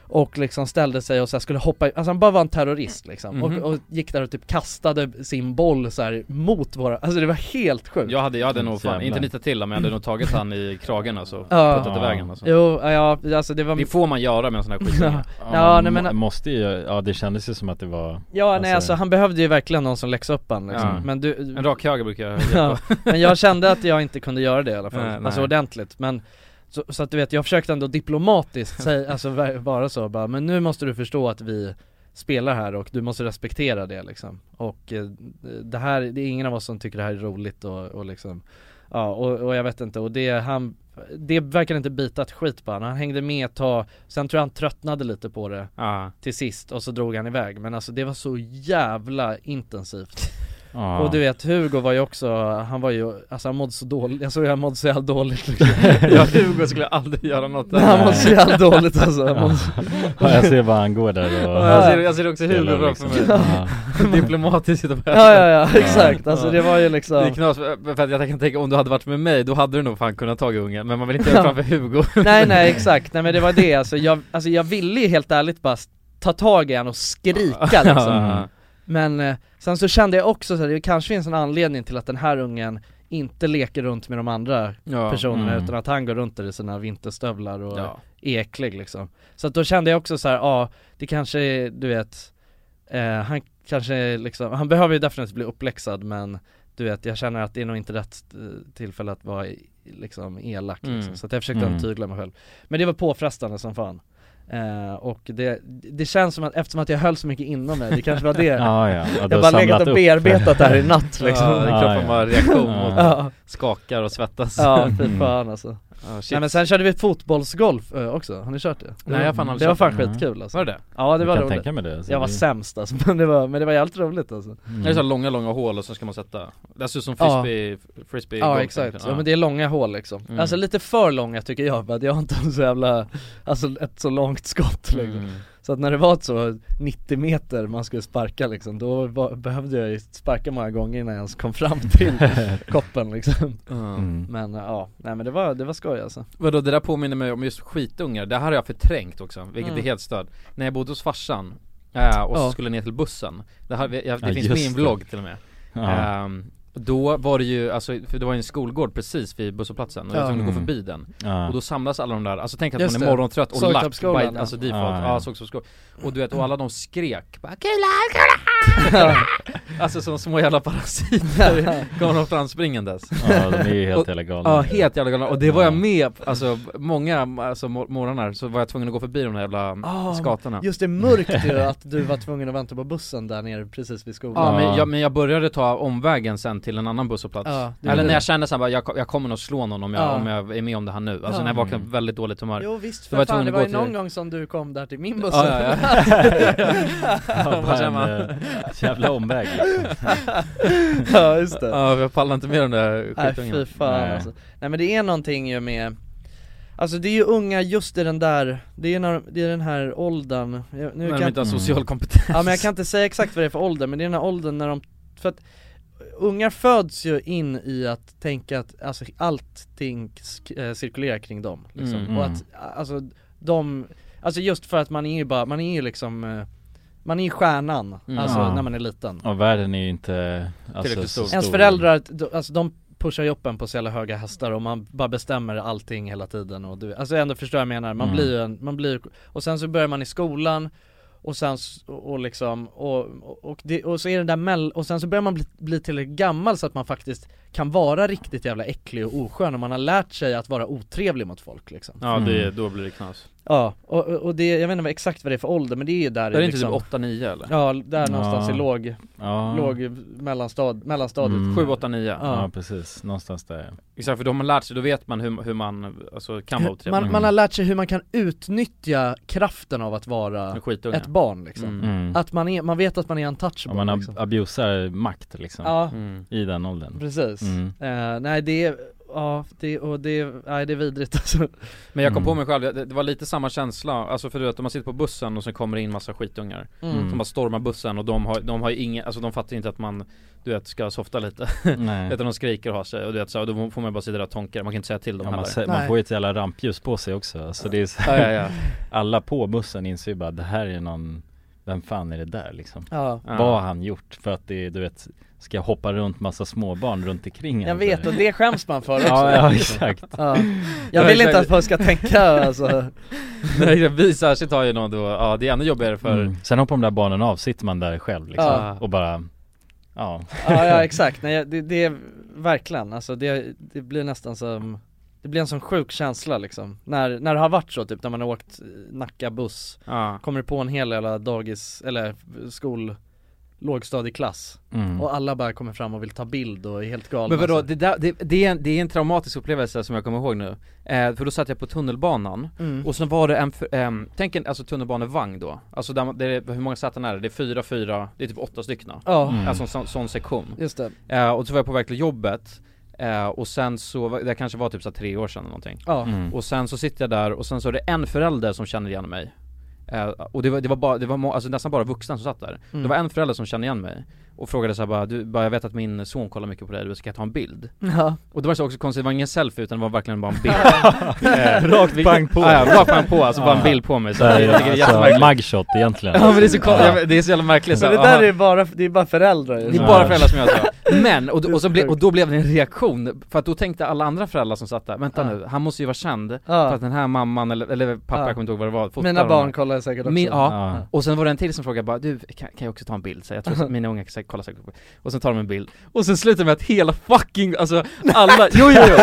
C: och liksom ställde sig och så här skulle hoppa, alltså han bara var en terrorist liksom
B: Mhm.
C: och, och gick där och typ kastade sin boll så här mot våra, alltså det var helt sjukt
B: Jag hade, jag hade nog fan,
C: Jävlar.
B: inte nitat till men jag hade nog tagit han i kragen alltså,
C: Ja.
B: puttat iväg han alltså.
C: Jo, ja, alltså det var
B: Det får man göra med en sån här skit
C: Ja,
A: Ja,
C: ja nej men
A: måste ju, ja det kändes ju som att det var
C: Ja nej alltså han behövde ju verkligen någon som läxa upp han liksom.
A: Ja.
C: men du
B: En rak höger brukar jag
C: ja, Men jag kände att jag inte kunde göra det i alla fall,
B: Nej, nej.
C: alltså ordentligt men så, så att du vet, jag försökte ändå diplomatiskt säga, alltså ver- bara så bara, men nu måste du förstå att vi spelar här och du måste respektera det liksom Och eh, det här, det är ingen av oss som tycker det här är roligt och, och liksom Ja och, och jag vet inte och det han Det verkar inte bita ett skit på han. han hängde med ett tag Sen tror jag han tröttnade lite på det Till sist och så drog han iväg men alltså det var så jävla intensivt
A: Ja.
C: Och du vet Hugo var ju också, han var ju, alltså han mådde så dåligt, jag såg hur han mådde så jävla dåligt liksom.
B: Ja, Hugo skulle aldrig göra något.
C: Nej, Han mådde så jävla dåligt alltså Han
A: ja.
C: mådde-
A: Ja, jag ser bara han går där och
C: Ja, jag ser-
B: jag ser också
A: spelar
B: Hugo framför mig. Diplomatiskt sitta på
C: Ja, ja, ja, exakt. Alltså, det var ju liksom-
B: Det är knas, för att jag kan tänka om du hade varit med mig då hade du nog fan kunnat ta ungen men man vill inte göra det framför Hugo
C: Nej nej exakt, nej men det var det alltså, jag, alltså jag ville ju helt ärligt bara s- ta tag i han och skrika liksom
B: Mm.
C: Men eh, sen så kände jag också så här, det kanske finns en anledning till att den här ungen inte leker runt med de andra
B: Ja.
C: personerna
B: Mm.
C: utan att han går runt där i sina vinterstövlar och
B: Ja.
C: är äcklig liksom Så att då kände jag också så här, ja det kanske är, du vet eh, Han kanske är liksom, han behöver ju definitivt bli uppläxad men du vet jag känner att det är nog inte rätt eh, tillfälle att vara i- liksom elak
B: Mm.
C: liksom. Så att jag försökte
B: Mm.
C: tygla mig själv Men det var påfrestande som fan Eh, och det, det känns som att, eftersom att jag höll så mycket inom mig, det kanske var det
A: Ja, ja. Ja, du
C: Jag
A: har
C: bara legat
A: samlat
C: och
A: upp.
C: bearbetat det här i natt liksom
B: Ja, kroppen bara reaktion mot,
C: Ja.
B: skakar och svettas
C: Ja,
A: Mm.
C: fy fan alltså
B: Ja, shit.
C: Nej men sen körde vi fotbollsgolf eh, också, har ni kört det?
B: Nej, jag har fan aldrig
C: Det var
B: kört
C: fan
B: det.
C: skitkul alltså
B: Var det det?
C: Ja det
B: Jag
C: var
B: kan
C: roligt
B: tänka mig det, alltså,
C: Jag var
B: det-
C: sämst alltså, men det var, men det var jävligt roligt alltså
A: Mm.
B: Det är så här långa, långa hål och så ska man sätta Det ser ut som
C: Ja.
B: frisbee, frisbee
C: Ja
B: golf
C: exakt,
B: egentligen.
C: ja men det är långa hål liksom
B: Mm.
C: Alltså lite för långa tycker jag för att jag har inte så jävla, alltså ett så långt skott liksom
B: Mm.
C: Så att när det var ett så 90 meter man skulle sparka liksom, då var, behövde jag ju sparka många gånger innan jag ens kom fram till koppen liksom
B: Mm.
C: Men eh, ja, nej men det var, det var skoj alltså
B: Vadå det där påminner mig om just skitungar, det här har jag förträngt också, vilket
C: Mm.
B: är helt stört När jag bodde hos farsan, eh, och så
C: Ja.
B: skulle jag ner till bussen Det, här, jag, det
A: Ja,
B: finns
A: just
B: min
A: det.
B: vlogg till och med
A: Ja.
B: Ehm, Då var det ju, alltså, för det var ju en skolgård precis vid busshållplatsen och jag
C: Ja.
B: var tvungen att gå
C: Mm.
B: förbi den
C: Ja.
B: Och då samlas alla de där, alltså tänk att
C: Just
B: man är
C: det.
B: morgontrött och lack,
C: Sorgtappsskolan,
B: bite,
C: ja.
B: alltså default,
C: Ja,
B: ja,
C: ja.
B: sågtappsskolan Och du vet, och alla de skrek bara, Alltså som små jävla parasiter kom de fram springandes
A: Ja, de är ju helt
B: Och-
A: jävla galna.
B: Ja, helt jävla galna, och det var jag med på. alltså många alltså, mor- morgnar så var jag tvungen att gå förbi de där jävla
C: Ah,
B: skatorna
C: Just det, mörkt ju att du var tvungen att vänta på bussen där nere precis vid skolan
B: Ja, men, jag, men jag började ta omvägen sen till en annan busshållplats
C: Ja, det
B: Eller
C: gjorde
B: när jag
C: du.
B: kände såhär bara, jag, jag kommer nog slå någon om jag,
C: Ja.
B: om jag är med om det här nu Alltså
C: Ja.
B: när jag vaknade på
C: Mm.
B: väldigt dåligt humör
C: Jo visst,
B: Då
C: för
B: jag tvungen
C: fan, det
B: att
C: var
B: gå
C: ju någon
B: till-
C: gång som du kom där till min buss
B: Ja, ja, ja. Ja,
C: Vad säger
B: en,
C: man?
B: eh, jävla omväg
C: Ja just det
B: Ja, jag pallar inte med de där
C: Nej
B: skitungarna.
C: fy fan
B: Nej.
C: alltså Nej men det är någonting ju med Alltså det är ju unga just i den där, det är, när, det är den här åldern jag,
B: När de
C: jag
B: inte har social kompetens.
C: Mm. Ja men jag kan inte säga exakt vad det är för ålder, men det är den här åldern när de, för att ungar föds ju in i att tänka att alltså, allting sk- eh, cirkulerar kring dem liksom.
B: Mm.
C: Och att alltså de, alltså just för att man är ju bara, man är ju liksom eh, man är ju stjärnan,
A: Mm.
C: alltså
A: Ja.
C: när man är liten
A: Ja, världen är ju inte alltså,
B: Tillräckligt
A: så
B: stor.
C: Ens föräldrar, d- alltså de pushar ju upp en på så jävla höga hästar och man bara bestämmer allting hela tiden och du, alltså ändå förstår jag vad jag menar, man
A: Mm.
C: blir ju en, man blir och sen så börjar man i skolan och sen s- och och liksom, och, och- och, det, och så är det där mell, och sen så börjar man bli, bli tillräckligt gammal så att man faktiskt kan vara riktigt jävla äcklig och oskön och man har lärt sig att vara otrevlig mot folk liksom
B: Ja det, då blir det knas
C: Ja, och, och och det, jag vet inte vad- exakt vad det är för ålder men det är ju
B: Där
C: där
B: är det inte
C: liksom,
B: typ 8-9 eller?
C: Ja, där någonstans
A: Ja.
C: i låg,
A: Ja.
C: låg mellanstad, mellanstadiet
A: Mm.
B: 7, 8, 9
A: Ja. ja precis, någonstans där
B: Exakt, för då har man lärt sig, då vet man hur, hur man alltså, kan vara
A: Typ.
B: otrevlig
C: man, man har lärt sig hur man kan utnyttja kraften av att vara
B: En skitunge.
C: ett barn liksom.
A: Mm. Mm.
C: Att man, är, man vet att man är untouchable
A: Om man ab-
C: liksom.
A: abusar makt liksom,
C: Ja.
B: Mm.
A: i den åldern
C: Precis.
A: Mm.
C: Eh, nej det är, ja det, och det, nej det är vidrigt alltså.
B: Men jag kom
A: Mm.
B: på mig själv, det, det var lite samma känsla, alltså för du vet om man sitter på bussen och så kommer det in massa skitungar
C: Mm.
B: Som bara stormar bussen och de har, de har ju ingen, alltså de fattar inte att man Du vet, ska softa lite
A: Nej.
B: Vet du, de skriker och har sig och du vet så, här, då får man bara sitta där och tonka, man kan inte säga till dem
A: Ja, man,
B: heller
A: ser, man får ju ett jävla rampljus på sig också, så det är så
B: Ja, ja, ja.
A: Alla på bussen inser ju bara det här är någon Vem fan är det där liksom?
C: Ja.
A: Vad har han gjort? För att det är, du vet Ska jag hoppa runt massa småbarn runt omkring
C: Jag vet och det skäms man för också.
A: Ja, ja exakt
C: Ja. Jag vill inte att folk ska tänka alltså
B: Nej vi särskilt har ju någon då, ja det är ännu jobbigare för
A: Mm. Sen hoppar de där barnen av, sitter man där själv liksom
C: Ja.
A: och bara Ja
C: Ja, ja exakt, nej jag- det, det är verkligen alltså det, det blir nästan som Det blir en sån sjuk känsla liksom När, när det har varit så typ när man har åkt eh, Nacka buss
B: Ja.
C: Kommer på en hel jävla dagis, eller skol Lågstadieklass
B: Mm.
C: Och alla bara kommer fram och vill ta bild och är helt galna
B: Men vadå,
C: alltså.
B: det, där, det, det, är en, det är en traumatisk upplevelse som jag kommer ihåg nu eh, För då satt jag på tunnelbanan,
C: Mm.
B: och sen var det en, för- ehm, tänk en alltså tunnelbanevagn då Alltså där, man- det är, hur många sätten är det? Det är fyra, fyra, det är typ åtta stycken
C: Ja. Mm.
B: Alltså en sån, sån sektion
C: Just det.
B: eh, Och så var jag på väg till jobbet eh, och sen så, var- det kanske var typ så här tre år sedan eller någonting
C: Ja. Mm.
B: Och sen så sitter jag där och sen så är det en förälder som känner igen mig eh, Och det var, det var bara, det var må, alltså nästan bara vuxna som satt där
C: Mm.
B: Det var en förälder som kände igen mig Och frågade såhär bara, du, bara jag vet att min son kollar mycket på dig, du ska jag ta en bild?
C: Ja.
B: Och det var så också konstigt, det var ingen selfie utan det var verkligen bara en bild Eh,
A: Rakt pang på.
B: Ja, ja, rakt pang på, alltså bara en
A: Ja.
B: bild på mig så
A: Det här är
B: jag tycker det är jättemärkligt
A: alltså mugshot egentligen
B: Ja men det är så konstigt,
A: Ja.
B: jag- det är så jävla märkligt
C: Så
B: här,
C: det där
B: aha.
C: är bara, det är bara föräldrar ju.
B: Det är bara föräldrar som gör så. Men, och, då- och, så ble, och då blev det en reaktion, för att då tänkte alla andra föräldrar som satt där, vänta nu, han måste ju vara känd för att den här mamman eller, eller pappa,
C: Ja.
B: jag kommer inte ihåg vad det var, fotar
C: Mina
B: honom.
C: barn kollar säkert också
B: Min, ja. och sen var det en till som frågade bara du, kan, kan jag också ta en bild? Så jag tror att mina unga kan säkert kolla säkert på Och sen tar de en bild, och sen slutar det med att hela fucking, alltså alla, jo jo jo!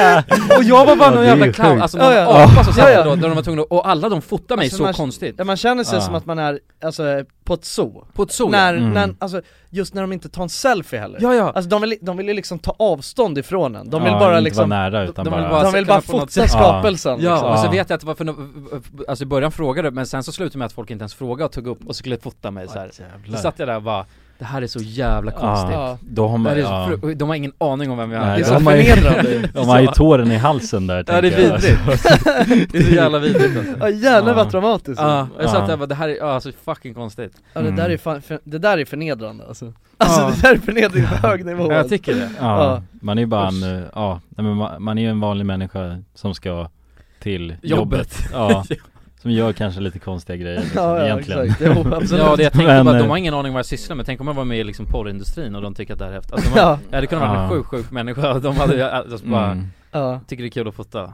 B: Och jag var bara någon
C: Ja, det är
B: jävla
C: ju
B: clown,
C: sjukt.
B: alltså någon
C: Ja, ja.
B: apa som
C: Ja, ja.
B: satt då, där de var tvungna, och alla de fotade mig
C: Alltså,
B: så
C: man-
B: konstigt
C: Ja man känner sig
B: Ja.
C: som att man är, alltså på ett zoo
B: På ett zoo,
C: När,
B: ja. Mm.
C: när, alltså just när de inte tar en selfie heller
B: Ja, ja.
C: Alltså de vill, de vill ju liksom ta avstånd ifrån en, de vill
A: Ja,
C: bara
A: inte
C: liksom
A: vara nära, utan
C: de,
A: bara-
C: vill bara, de vill bara fota skapelsen
B: Ja,
C: liksom.
B: och så vet jag att det var för no- alltså i början frågade men sen så slutade det med att folk inte ens frågade och tog upp och skulle fota mig så här.
A: jävlar.
B: Så satt jag där och bara det här är så jävla
A: Ja.
B: konstigt.
A: Ja. Då har man-
B: Det här är så
A: ja.
B: fru- De har ingen aning om vem jag är.
A: Nej, de har ju- De har ju tåren i halsen där
B: Ja det är
A: tänker jag.
B: vidrigt. det är så jävla vidrigt alltså.
C: Ja, jävlar vad dramatiskt.
B: Ja, jag satt
C: Ja.
B: där och bara det här är, ja så fucking konstigt.
C: Ja det där är fan, för, det där är förnedrande alltså Alltså det där är förnedring på hög nivå
B: Ja, jag tycker det.
A: Ja,
C: Ja.
A: man är ju bara en, eh, ja, nej, men man, man är ju en vanlig människa som ska till jobbet,
B: Jobbet.
A: Ja, Som gör kanske lite konstiga grejer liksom,
E: Ja, ja,
A: egentligen
E: exakt. Jo, absolut.
B: Ja det jag tänkte
A: Men,
B: bara, de
A: eh,
B: har ingen aning om vad jag sysslar med, tänk om jag var med i liksom porrindustrin och de tycker att det här är häftigt alltså, de
E: Ja.
B: hade, Jag hade kunnat vara en
A: Ja.
B: sjuk sjuk människa, de hade alltså, bara,
A: Mm.
E: Ja.
B: tycker det är kul att fota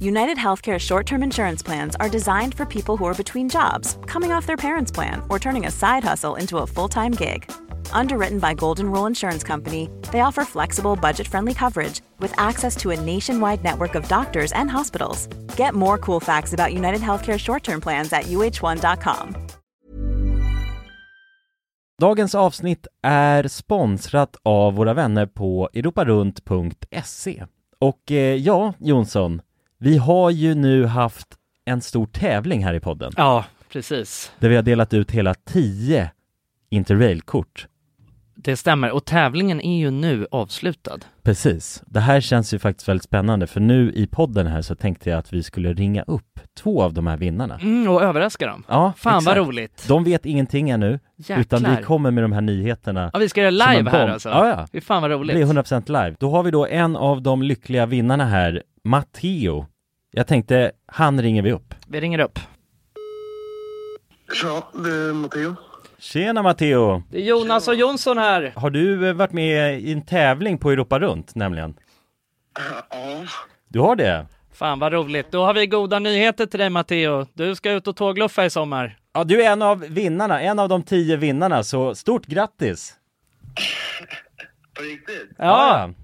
H: United Healthcare short term insurance plans are designed for people who are between jobs, coming off their parents' plan, or turning a side hustle into a full time gig. Underwritten by Golden Rule Insurance Company, they offer flexible, budget friendly coverage with access to a nationwide network of doctors and hospitals. Get more cool facts about United Healthcare short term plans at uh1.com.
A: Dagens avsnitt är sponsrat av våra vänner på europarunt.se. Och eh, ja, Jonsson, vi har ju nu haft en stor tävling här i podden.
C: Ja, precis.
A: Där vi har delat ut hela 10 Interrail-kort.
C: Det stämmer. Och tävlingen är ju nu avslutad.
A: Precis. Det här känns ju faktiskt väldigt spännande för nu i podden här så tänkte jag att vi skulle ringa upp två av de här vinnarna.
C: Mm, och överraska dem.
A: Ja,
C: Fan
A: exakt.
C: vad roligt.
A: De vet ingenting ännu, utan
C: Jäklar.
A: vi kommer med de här nyheterna.
C: Ja, vi ska göra
A: som en
C: live här
A: bomb.
C: alltså.
A: Ja, ja.
C: Fy fan vad roligt.
A: Det är 100% live. Då har vi då en av de lyckliga vinnarna här, Matteo. Jag tänkte, han ringer vi upp.
C: Vi ringer upp.
I: Ja, det är Matteo.
A: Tjena Matteo!
C: Det är Jonas och Jonsson här.
A: Har du eh, varit med i en tävling på Europa runt nämligen?
I: Ja.
A: Du har det?
C: Fan vad roligt. Då har vi goda nyheter till dig Matteo. Du ska ut och tågluffa i sommar.
A: Ja, du är en av vinnarna, en av de tio vinnarna, så stort grattis! På riktigt? Ja!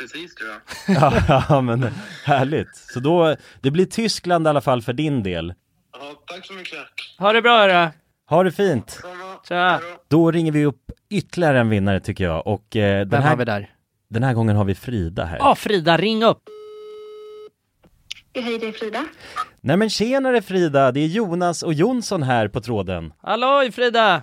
I: precis tror jag.
A: ja, men härligt. Så då, det blir Tyskland i alla fall för din del.
C: Ha det bra hörru.
A: Ha det fint!
C: Tja.
A: Då ringer vi upp ytterligare en vinnare tycker jag och eh, den
C: Vem
A: här,
C: har vi där?
A: Den här gången har vi Frida här.
C: Ja Frida, ring upp.
J: Hej, det är Frida.
A: Nej men tjenare Frida, det är Jonas och Jonsson här på tråden.
C: Halloj Frida!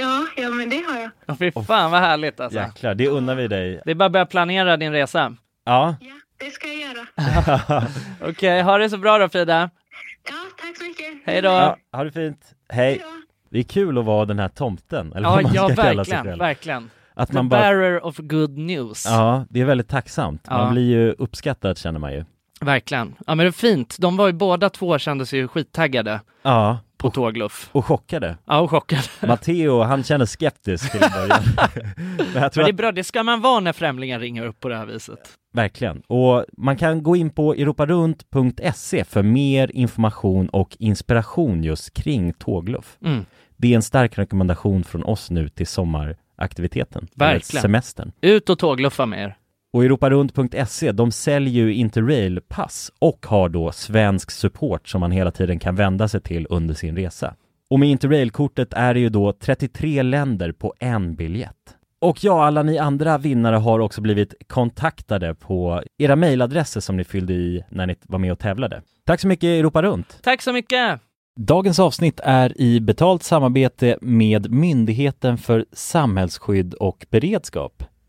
J: Ja, ja, men det har jag.
C: Åh, Fy fan vad härligt alltså.
A: Jäklar, det unnar vi dig.
C: Det är bara att börja planera din resa.
A: Ja.
J: Det ska jag göra.
C: Okej, ha det så bra då Frida.
J: Ja, tack så mycket.
C: Hej då.
A: ja, ha det fint. Hej. Det är kul att vara den här tomten, eller
C: Ja,
A: vad man
C: ja
A: ska kalla sig
C: verkligen,
A: själv.
C: verkligen.
A: Att
C: The bearer of good news.
A: Ja, det är väldigt tacksamt. Man
C: Ja.
A: blir ju uppskattad känner man ju.
C: Verkligen. Ja men det är fint. De var ju båda två kändes ju skittaggade
A: Ja.
C: på tågluff.
A: Och chockade.
C: Ja, och chockade.
A: Matteo, han känner skeptisk till en början. Men jag tror
C: men det är
A: att-
C: bra, det ska man vara när främlingar ringer upp på det här viset.
A: Verkligen. Och man kan gå in på europarunt.se E för mer information och inspiration just kring tågluff.
C: Mm.
A: Det är en stark rekommendation från oss nu till sommaraktiviteten. eller
C: Verkligen.
A: Semestern.
C: Ut och tågluffa med er.
A: Och europarunt.se, E, de säljer ju Interrail-pass och har då svensk support som man hela tiden kan vända sig till under sin resa. Och med Interrail-kortet är det ju då 33 länder på en biljett. Och ja, alla ni andra vinnare har också blivit kontaktade på era mejladresser som ni fyllde i när ni var med och tävlade. Tack så mycket Europa Runt!
C: Tack så mycket!
A: Dagens avsnitt är i betalt samarbete med Myndigheten för samhällsskydd och beredskap,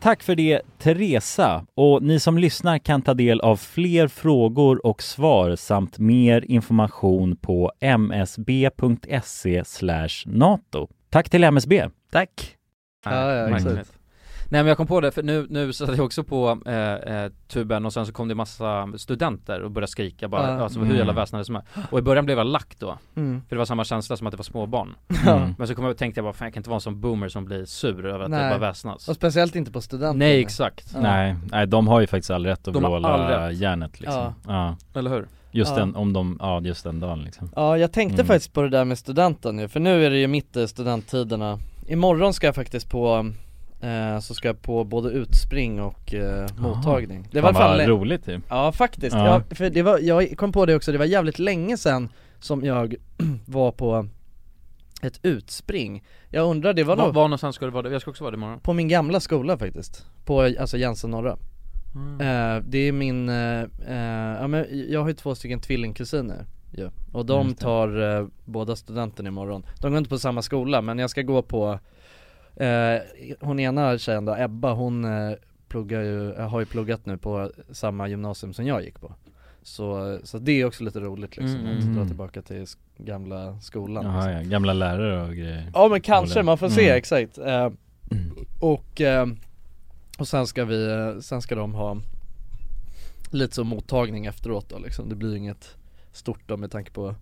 A: Tack för det Teresa och ni som lyssnar kan ta del av fler frågor och svar samt mer information på msb.se E NATO. Tack till MSB.
C: Tack.
A: Ja, ja,
B: märkligt.
A: exakt.
B: Nej men jag kom på det, för nu, nu satt jag också på eh, eh, tuben och sen så kom det massa studenter och började skrika bara,
C: Ja.
B: alltså
C: Mm.
B: hur jävla väsnade som är Och i början blev jag lack då,
C: Mm.
B: för det var samma känsla som att det var småbarn
C: Ja.
B: Men så kom jag och tänkte jag bara, fan jag kan inte vara en sån boomer som blir sur över att det
C: Nej.
B: bara väsnas
C: Och speciellt inte på studenten.
B: Nej exakt
A: Nej, nej, de har ju faktiskt all rätt att
B: De har all
A: vråla
B: rätt.
A: järnet liksom.
B: Ja. Eller hur?
A: Just
C: Ja.
A: den, om de, ja just den dagen liksom.
C: Ja jag tänkte
A: Mm.
C: faktiskt på det där med studenten ju, för nu är det ju mitt i studenttiderna Imorgon ska jag faktiskt på, eh, så ska jag på både utspring och eh, mottagning
A: Fan,
C: i alla
A: vad
C: fall-
A: roligt
E: typ.
A: ju.
C: Ja faktiskt,
A: Ja.
C: ja. för det var, jag kom på det också, det var jävligt länge sedan som jag var på ett utspring Jag undrar, det var
B: Var,
C: nog
B: var någonstans ska du vara det? Jag ska också vara det imorgon
C: på min gamla skola faktiskt, på alltså Jensen norra
A: Mm.
C: Eh, Det är min, eh, eh, ja men jag har ju två stycken tvillingkusiner ju Och de
A: Mm, Just det.
C: tar eh, båda studenten imorgon De går inte på samma skola men jag ska gå på eh, Hon ena tjejen då, Ebba, hon eh, pluggar ju, eh, har ju pluggat nu på samma gymnasium som jag gick på Så, så det är också lite roligt liksom,
A: Mm,
C: att
A: mm,
C: dra
A: mm.
C: tillbaka till sk- gamla skolan liksom.
A: Jaha, ja, gamla lärare och grejer.
C: Ja men kanske,
A: Håller.
C: man får se
A: Mm.
C: exakt. Eh, och, eh, och sen ska vi, eh, sen ska de ha lite så mottagning efteråt då liksom. Det blir inget stort då med tanke på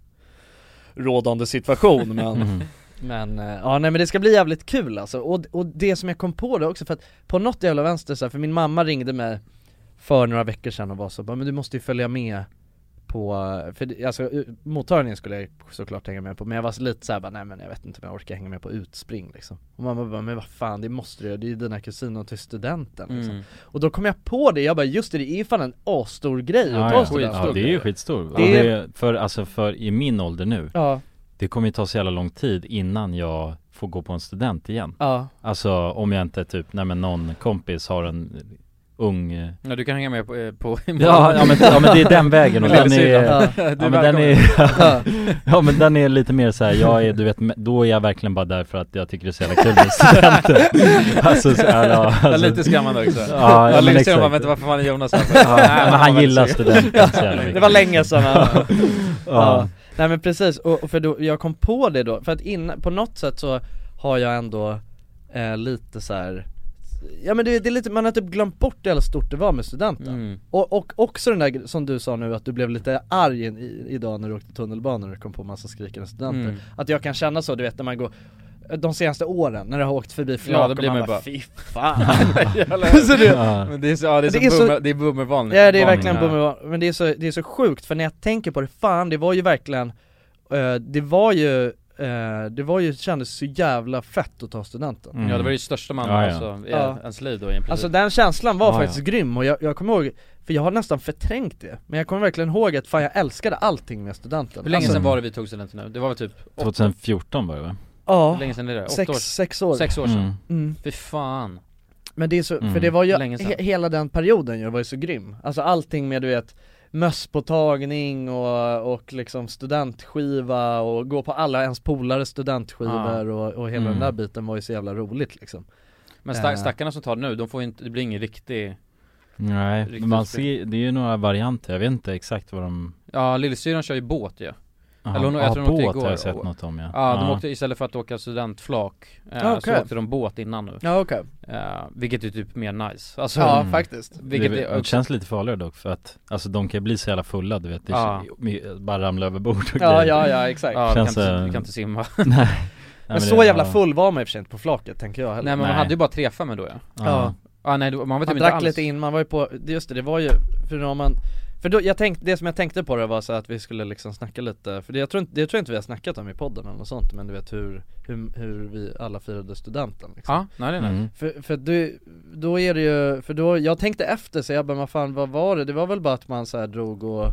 C: rådande situation men
A: Mm.
C: Men, eh, ja nej men det ska bli jävligt kul alltså, och, och det som jag kom på då också för att på något jävla vänster så här, för min mamma ringde mig för några veckor sedan och var så bara, men du måste ju följa med på på, för det- alltså u- mottagningen skulle jag såklart hänga med på men jag var lite såhär bara, nej men jag vet inte om jag orkar hänga med på utspring liksom Och mamma bara, men vad fan det måste du göra, det är ju dina kusiner till studenten liksom.
E: Mm.
C: Och då kom jag på det, jag bara just det, det är ju fan en asstor grej att ta
E: ja,
C: studenten
E: ja, det är ju skitstor.
C: Det
E: Ja,
C: är-
E: det är för, alltså för i min ålder nu,
C: Ja.
E: det kommer ju ta så jävla lång tid innan jag får gå på en student igen.
C: Ja.
E: Alltså om jag inte typ, nej men någon kompis har en ung eh,
B: Ja du kan hänga med på, eh, på
E: Ja, ja, men, ja men det är den vägen och den är, ja,
B: Lillasidan.
E: men den är, ja men den är lite mer såhär, jag är, du vet, då är jag verkligen bara där för att jag tycker det är så jävla kul med studenter Alltså så här, ja,
B: Ja,
E: alltså,
B: lite skrämmande också.
E: Ja,
B: Ja,
E: ja men
B: lite skrämmande,
E: exakt
B: man vet inte varför man är Jonas här.
E: ja,
B: Nej,
E: men
B: man
E: han
B: var
E: gillar
B: väldigt sugen.
E: studenter så jävla mycket.
C: Det var länge sedan han-
E: Ja.
C: ja. Nej men precis, och och för då, jag kom på det då, för att innan, på något sätt så har jag ändå eh, lite så här. Ja men det, det är lite, man har typ glömt bort hur jävla stort det var med studenten
B: Mm.
C: och, och också den där gre- som du sa nu att du blev lite arg i, idag när du åkte tunnelbana och du kom på massa skrikande studenter
B: Mm.
C: Att jag kan känna så du vet när man går de senaste åren när jag har åkt förbi flak
B: Ja, då blir
C: och
B: man
C: man
B: ju bara
C: fy fan
B: Jävlar.
C: Så det-
B: Men det är så, ja, det är så, bummer, det är bummervan
C: Ja det är verkligen bummervan, men det är, så, det är så sjukt för när jag tänker på det, fan det var ju verkligen, eh, det var ju, eh, det var ju, kändes så jävla fett att ta studenten
E: Mm.
B: Ja det var ju största man
E: Ja, ja.
B: alltså, i
C: Ja.
B: ens liv då i en princip.
C: Alltså den känslan var
B: Ja, ja.
C: faktiskt grym och jag, jag kommer ihåg, för jag har nästan förträngt det, men jag kommer verkligen ihåg att fan jag älskade allting med studenten
B: Hur länge
C: alltså,
B: sedan var det vi tog studenten nu? Det var väl typ åtta-
E: 2014 var det va?
C: Ja.
B: Hur länge sedan är det? Åtta
C: Sex-
B: år?
C: sex år.
B: Sex år sedan?
E: Mm.
C: Mm.
B: Fy fan
C: Men det är så,
B: Mm.
C: för det var ju,
B: Länge sedan.
C: he, hela den perioden ju var ju så grym Alltså allting med du vet mösspåtagning och, och liksom studentskiva och gå på alla ens polares studentskivor
B: Ja.
C: och, och hela
B: Mm.
C: den där biten var ju så jävla roligt liksom
B: Men sta-
C: Eh,
B: stackarna som tar det nu, de får ju inte, det blir ingen riktig
E: Nej,
B: Riktigt
E: men man
B: spel.
E: ser, det är ju några varianter, jag vet inte exakt vad de
B: Ja lillasyrran kör ju båt ju
E: Jaha.
B: Eller hon, jag
E: Ja,
B: tror hon åkte
E: båt
B: igår
E: har jag sett
B: Och-
E: något om, ja.
B: ja de
E: Ja.
B: åkte istället för att åka studentflak eh,
C: Ja, okej.
B: Så åkte de båt innan nu
C: Ja, okej.
B: eh, Vilket är typ mer nice alltså,
C: Ja, Mm. faktiskt.
B: Vilket
E: det,
B: är
E: det
B: också,
E: känns lite farligare dock för att, alltså de kan bli så jävla fulla du vet, det
B: Ja.
E: är, bara ramla över bord och
C: Ja,
E: grejer.
C: ja, ja, exakt.
B: ja, vi kan,
E: Känns,
B: inte,
E: eh,
B: vi kan inte simma
E: Nej. Nej
C: Men så jävla full var man i och för sig inte på flaket tänker jag heller
B: Nej men man hade ju bara tre femmor då ja
C: Ja.
E: Mm,
B: Ja, nej, då- man var typ
C: man
B: inte
C: drack
B: alls
C: lite in, man var ju på, det- just det, det var ju, för då har man för då, jag tänkte, det som jag tänkte på det var så att vi skulle liksom snacka lite, för det, jag, tror inte, det tror jag inte vi har snackat om i podden eller något sånt men du vet hur, hur, hur vi alla firade studenten liksom.
B: Ja, nej, nej, nej. Mm.
C: För, för du, då är det ju, för då, jag tänkte efter så jag bara vad fan vad var det? Det var väl bara att man så här drog och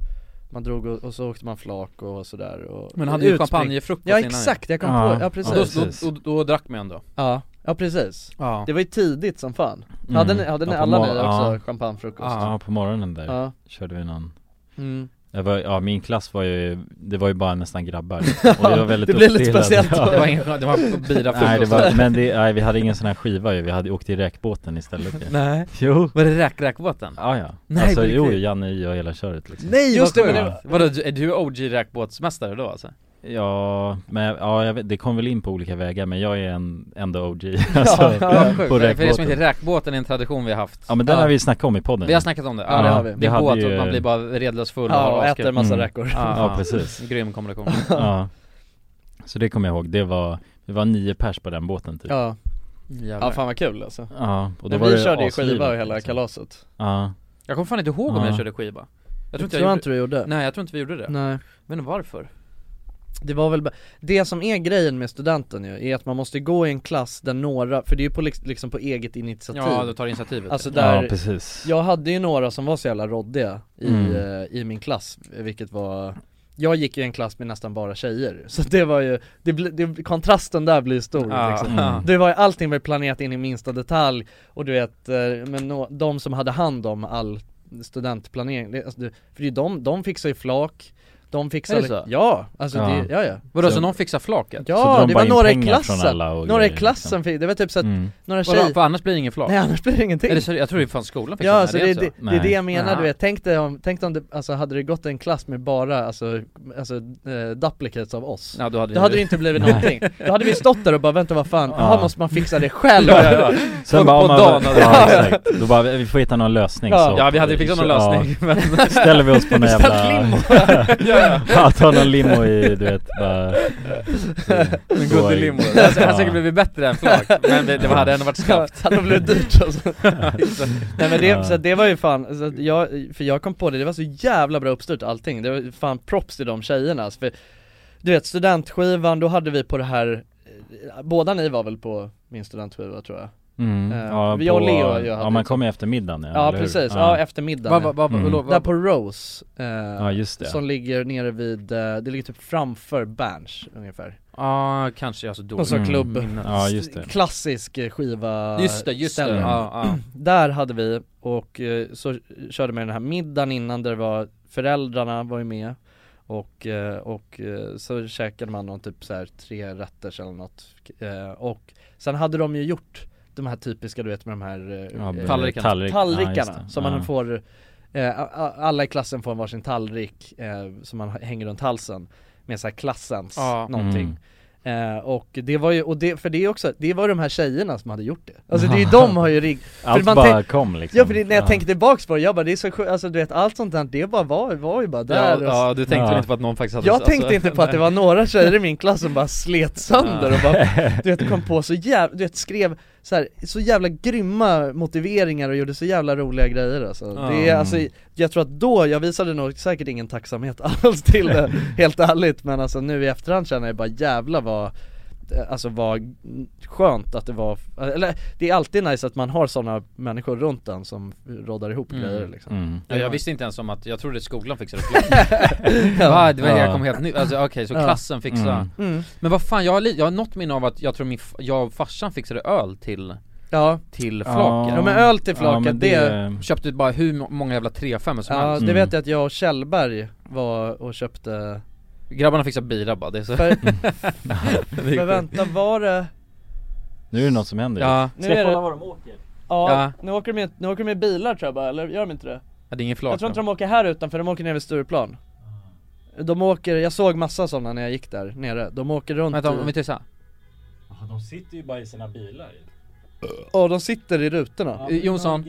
C: man drog och, och så åkte man flak och sådär och
B: Men hade ju
C: utspring-
B: champagnefrukost
C: Ja
B: innan
C: exakt, jag kom på, ja precis
B: Då, då, då, då drack man ju ändå
C: Ja, ja precis.
B: Ja.
C: Det var ju tidigt som fan.
E: Mm.
C: Hade ni, hade ni
E: Ja, på
C: alla ni
E: mor-
C: också
E: ja.
C: champagnefrukost?
E: Ja, på morgonen där
C: Ja.
E: körde vi någon
C: Mm.
E: jag var, ja min klass var ju, det var ju bara nästan grabbar och det var väldigt
C: Det blev lite
E: uppdelat.
C: speciellt.
E: Ja.
C: Det var ingen- det var bira
E: Nej det var,
C: frukost.
E: men det, nej, vi hade ingen sån här skiva ju, vi hade åkt i räkbåten istället ju.
C: Nej.
E: Jo
B: Var det räk-räkbåten?
E: Ja ja,
B: Nej,
E: alltså
B: på
E: jo
B: riktigt?
E: Janne I och hela köret liksom
C: Nej
B: Just det,
E: vad
B: men det
E: sjukt.
B: var- Vadå, är du OG räkbåtsmästare då alltså?
E: Ja, men ja, jag vet, det kom väl in på olika vägar men jag är en, ändå OG alltså,
B: ja, sjukt.
E: på
B: För er som
E: räkbåten
B: inte räkbåten är en tradition vi har haft
E: Ja men den har vi snackat om i podden
B: Vi har snackat om det, ja, det har vi Det är båt och man blir bara redlös full
C: Ja,
B: har
C: och äter
B: askul.
C: en massa räkor.
E: Mm. Ja, precis.
B: Grym kombination
E: Ja Så det kommer jag ihåg, det var, vi var nio pers på den båten typ
C: Ja
B: Jävlar.
C: Ja fan vad kul alltså
E: Ja, och då
C: Men
E: var
C: vi
E: det
C: körde ju
E: aslivet,
C: skiva och hela
E: liksom.
C: kalaset
E: Ja
B: Jag kommer fan inte ihåg om
E: Ja.
B: jag körde skiva Jag
C: Det
B: tror inte
C: tror jag
B: jag
C: inte du gjorde.
B: Nej jag tror inte vi gjorde det
C: Nej
B: Men varför?
C: Det var väl, ba- det som är grejen med studenten ju, är att man måste gå i en klass där några, för det är ju på, liks- liksom på eget initiativ
B: Ja, du tar initiativet.
C: Alltså där,
E: Ja, precis.
C: jag hade ju några som var så jävla råddiga i,
E: Mm.
C: eh, i min klass, vilket var jag gick ju i en klass med nästan bara tjejer, så det var ju, det bli, det, kontrasten där blir stor
B: Ja.
C: liksom.
B: Mm.
C: Det var ju, allting var ju planerat in i minsta detalj och du vet, eh, men no, de som hade hand om all studentplanering, det, alltså, det, för det är ju de, de fixar ju flak, de fixar
B: Är det så?
C: Ja, alltså
B: Ja.
C: Det, ja ja
B: Vadå, så någon fixar flaket? Så
C: Ja,
B: drar de
C: det
B: bara
C: var
B: in
C: några i
B: pengar från
C: klassen,
B: alla och
C: några i
E: liksom.
B: grejer, liksom.
C: klassen fick, det var typ så att,
B: Mm.
C: några
B: Vadå,
C: tjejer
B: för annars blir det ingen flak?
C: Nej annars blir det ingenting
B: Är det så, jag tror det fanns skolan faktiskt
C: Ja alltså
B: Är
C: det, är
B: så?
C: det, det är det jag menar
B: Nej.
C: du vet, tänk dig om, tänk dig om det, alltså hade det gått en klass med bara alltså, alltså eh, duplicates av oss
B: Ja, då hade
C: Då
B: vi-
C: hade det inte blivit
B: Nej.
C: någonting, då hade vi stått där och bara vänta vad fan,
B: Ja.
C: jaha måste man fixa det själv?
B: Ja, ja, ja.
E: Sen bara, om man, ja, exakt. Då bara, vi får hitta någon lösning
C: Ja.
E: så
C: Ja,
B: vi hade fixat någon
E: Ja.
B: lösning, men-
E: Ställer vi oss på någon
B: Istället
E: jävla
B: limo.
E: ja,
A: Ja, ta någon limo i, du vet, bara...
B: En gullig limo Det hade hade säkert blivit bättre än flak, men det, det hade ändå varit skarpt
C: Hade de blivit dyrt alltså Nej men det, så att det var ju fan, så att jag, för jag kom på det, det var så jävla bra uppstyrt allting Det var fan props till de tjejerna alltså, för Du vet studentskivan, då hade vi på det här eh, Båda ni var väl på min studentskiva tror jag?
A: Mm,
C: Eh,
A: ja,
C: jag och
A: på-
C: Leo jag hade
A: Ja man kommer i eftermiddagen
C: Ja
A: eller hur?
C: precis, ja, eftermiddagen
A: Va- va- va- Mm. va- va-
C: Där på Rose, eh,
A: Ja, just det.
C: som ligger nere vid, eh, det ligger typ framför Berns ungefär
B: Ja, kanske, alltså dåligt
C: Någon sån
B: minne.
C: klubb,
A: Ja, just det.
C: klassisk eh, skiva
B: Just det, just det.
C: ställe.
B: Ja, ja.
C: Där hade vi, och eh, så körde man den här middagen innan där det var, föräldrarna var ju med och, eh, och eh, så käkade man någon typ så här tre rätter eller något Eh, Och sen hade de ju gjort de här typiska du vet med de här eh,
A: Ja,
C: eh,
A: tallrikarna. Tallrik- ja,
C: tallrikarna
A: just det.
C: som
A: Ja.
C: man får eh, a- a- Alla i klassen får varsin tallrik eh, som man hänger runt halsen med så här klassens
B: Ja.
C: någonting
B: Mm.
C: Eh, och det var ju, och det, för det är också, det var de här tjejerna som hade gjort det Alltså det är ju de har ju rigg för
A: Allt
C: man
A: bara
C: tänk-
A: kom, liksom.
C: Ja för det, när jag
A: Ja.
C: tänker tillbaks på det, jag bara det är så sjukt, alltså du vet allt sånt där, det bara var, var ju bara
B: Ja,
C: där
B: ja, du tänkte väl inte på att någon faktiskt hade-
C: Jag
B: alltså-
C: tänkte inte på att det var några tjejer i min klass som bara slet sönder
B: Ja.
C: och bara, du vet kom på så jävla, du vet skrev så, här, så jävla grymma motiveringar och gjorde så jävla roliga grejer alltså. Det är
A: Mm.
C: alltså, jag tror att då, jag visade nog säkert ingen tacksamhet alls till det, helt ärligt men alltså nu i efterhand känner jag bara jävla vad Alltså vad skönt att det var, eller det är alltid nice att man har sådana människor runt en som roddar ihop
B: Mm.
C: grejer liksom
B: Mm. Ja, jag visste inte ens om att, jag trodde skolan fixade
C: Ja.
B: flak Va? Det var jag
C: Ja.
B: kom helt ny, alltså okej så
C: Ja.
B: klassen fixade
C: Mm. Mm.
B: Men vad fan, jag har, li- jag har något minne av att jag tror min, f- jag och farsan fixade öl till
C: Ja.
B: Till
C: Ja.
B: flaket
C: Ja, men öl till flaket,
B: men
C: det-
B: Köpte bara hur må- många jävla 3-5 som
C: Ja
B: helst
C: det vet jag att jag och Kjellberg var och köpte
B: Grabbarna fixade bira bara, det är så
C: För,
B: Det är
C: för vänta var det
A: Nu är det något som händer
B: Ja.
C: Nu är det... Ja,
B: Ja.
C: Nu, åker de, i- nu åker de i bilar tror jag bara, eller gör de inte det?
B: Ja, det är ingen flak
C: Jag tror inte
B: då.
C: de åker här utanför, de åker ner vid Stureplan De åker, jag såg massa sådana när jag gick där nere, de åker runt
B: Vänta,
C: i-
B: om vi tar så här.
A: De sitter ju bara i sina bilar
C: Ja de sitter i rutorna
B: Eh, Jonsson,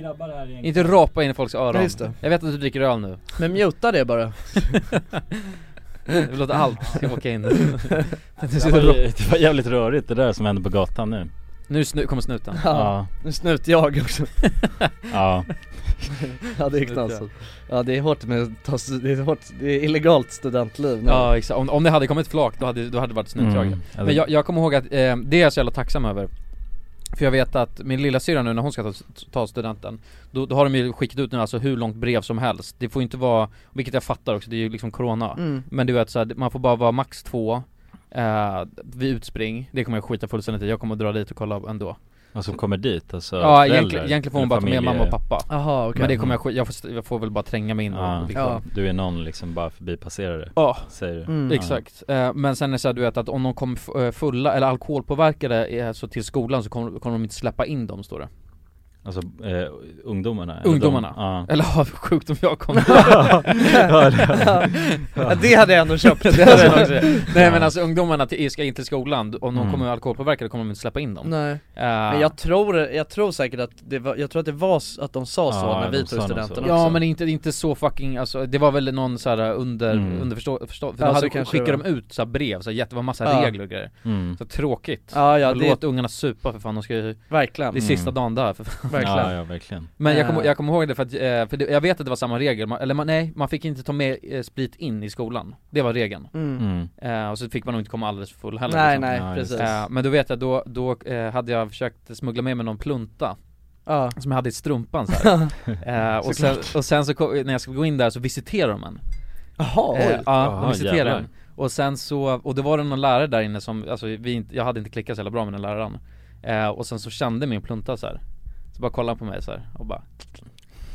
B: inte rapa in i folks öron
C: Ja, just det.
B: Jag vet att du dricker öl nu
C: Men muta det bara
B: Vi låter allt åka in
A: det var, ju- det var jävligt rörigt det där som hände på gatan nu
B: Nu snu- kommer snuten
C: Ja, nu snut jag också
A: Ja
C: Ja det är
B: Snut jag.
C: knasigt Ja det är hårt med att ta, det är hårt, det är illegalt studentliv nu.
B: Ja exakt, om, om det hade kommit flak då hade, då hade det varit snutjag
C: Mm, eller-
B: Men jag, jag kommer ihåg att, eh, det är jag så jävla tacksam över För jag vet att min lilla syra nu när hon ska ta, ta studenten då, då har de ju skickat ut nu alltså hur långt brev som helst Det får inte vara, vilket jag fattar också, det är ju liksom corona
C: Mm.
B: Men du vet såhär, man får bara vara max två eh, Vid utspring, det kommer jag skita fullständigt i, jag kommer dra dit och kolla ändå
A: Vad som kommer dit alltså
B: Ja
A: föräldrar
B: egentligen, egentligen får hon
A: eller
B: bara ta med
A: familje-
B: mamma och pappa
C: Jaha, okej.
B: Men det kommer jag skita, jag får, jag får väl bara tränga mig in och
C: Ah.
A: ja.
B: liksom.
A: Du är någon liksom bara förbipasserare
B: Ja,
A: Säger du Ja.
B: exakt. Eh, Men sen är det så här, du vet att om de kom f- eh, fulla eller alkoholpåverkade eh, så till skolan så kommer, kommer de inte släppa in dem står det
A: Alltså eh, ungdomarna? eller
B: Ungdomarna.
A: de- ja.
B: Eller ja, sjukt om jag kom
A: Ja, det-
C: Ja, det hade jag ändå köpt.
B: Det hade jag också.
C: Ja.
B: Nej men alltså ungdomarna till, ska in till skolan, om de
C: Mm.
B: kommer alkoholpåverkade kommer de inte släppa in dem
C: Nej.
B: Eh,
C: Men jag tror, jag tror säkert att det var, jag tror att det var s- att de sa så
B: Ja,
C: när
B: de
C: vi
B: sa
C: tog
B: nog
C: studenten
B: så. Ja
C: också.
B: men inte, inte så fucking, alltså, det var väl någon så här eh, under,
C: Mm.
B: underförstå, förstå, för
C: Ja,
B: då
C: så
B: hade,
C: kanske
B: skickade
C: det
B: de
C: var.
B: ut så här brev, så här, jätte, det var massa
C: Ja.
B: regler och grejer
A: Mm.
B: Så tråkigt,
C: Ja, ja,
B: Och
C: det-
B: låt ungarna supa för fan, de ska ju
C: Verkligen.
B: Det är sista
A: Mm.
B: dagen där för fan
A: Verkligen. Ja, ja, verkligen.
B: Men jag
A: Eh.
B: kommer jag kommer ihåg det för att, eh, för det, jag vet att det var samma regel, man, eller man, nej, man fick inte ta med eh, sprit in i skolan Det var regeln
C: Mm.
A: Mm.
B: Eh, Och så fick man nog inte komma alldeles för full heller
C: Nej,
B: liksom.
C: nej, Ja, just precis. det.
B: Eh, Men då vet jag, då, då eh, hade jag försökt smuggla med mig någon plunta
C: Ja.
B: Som jag hade i strumpan så här. eh, och, sen,
C: Såklart.
B: och sen så, kom, när jag skulle gå in där så visiterade de en
C: Jaha,
B: Eh,
C: oj.
B: Ja, de
C: Jaha,
B: visiterade
C: jävlar.
B: en och sen så, och det var det någon lärare där inne som, alltså vi inte, jag hade inte klickat så jävla bra med den läraren eh, Och sen så kände min plunta så här. Så bara kollade han på mig så här och bara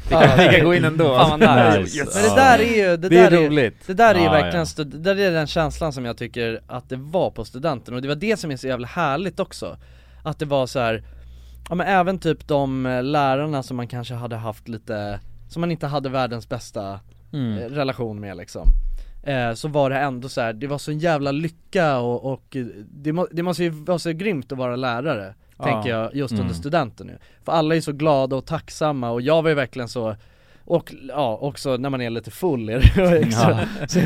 B: Vi kan, vi kan gå in ändå
C: Fan vad nice. Men det där är ju, det,
B: är
C: där
B: roligt
C: Det där är ju verkligen, stud- det där är den känslan som jag tycker att det var på studenten och det var det som är så jävla härligt också Att det var så här, ja men även typ de eh, lärarna som man kanske hade haft lite, som man inte hade världens bästa
B: Mm.
C: eh, relation med liksom eh, Så var det ändå så här, det var sån jävla lycka och, och eh, det, må, det måste ju vara så grymt att vara lärare
B: Ja.
C: Tänker jag just
B: Mm.
C: under studenten nu För alla är så glada och tacksamma och jag var ju verkligen så Och ja, också när man är lite full är det ju extra
B: Ja.
C: så,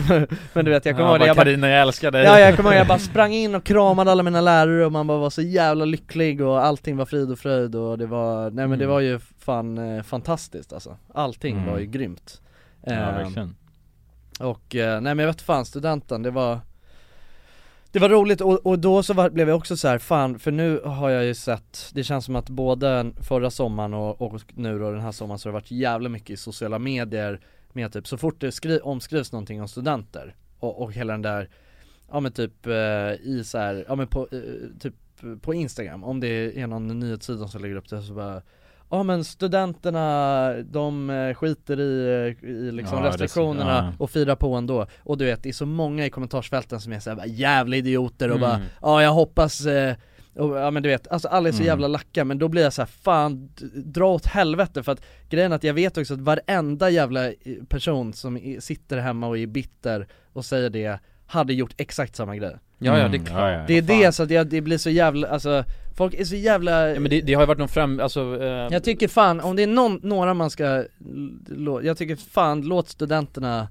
C: Men du vet jag kommer
B: Ja,
C: ihåg
B: bara,
C: jag bara-
B: "Carina, jag älskar dig."
C: Ja jag kommer ihåg, jag bara sprang in och kramade alla mina lärare och man bara var så jävla lycklig och allting var frid och fröjd och det var, nej men det
B: Mm.
C: var ju fan eh, fantastiskt alltså Allting
E: Mm.
C: var ju grymt
E: Ja,
C: Ehm,
E: verkligen.
C: Och eh, nej men jag vet fan, studenten det var det var roligt och, och då så var, blev jag också så här, fan för nu har jag ju sett, det känns som att både förra sommaren och, och nu då den här sommaren så har det varit jävla mycket i sociala medier med typ så fort det skri, omskrivs någonting om studenter och, och hela den där, ja men typ eh, i så här, ja men på, eh, typ på Instagram om det är någon nyhetssida som lägger upp det så bara Ja men studenterna, de eh, skiter i, eh, i liksom
E: Ja, det-
C: restriktionerna
E: ja.
C: och fira på ändå Och du vet, det är så många i kommentarsfälten som är såhär jävla idioter och
E: Mm.
C: bara Ja jag hoppas eh, och, ja men du vet, alltså alla är så
E: Mm.
C: jävla lacka men då blir jag så här, fan d- dra åt helvete för att grejen är att jag vet också att varenda jävla eh, person som i- sitter hemma och är bitter och säger det hade gjort exakt samma grej
B: Ja, ja, det är Mm, klart. ja, ja.
C: Det är
B: Fan.
C: det så att jag, det blir så jävla, alltså folk är så jävla
B: Ja, men det, det har ju varit någon fram, alltså, eh,
C: jag tycker fan, om det är någon, några man ska, lå- jag tycker fan låt studenterna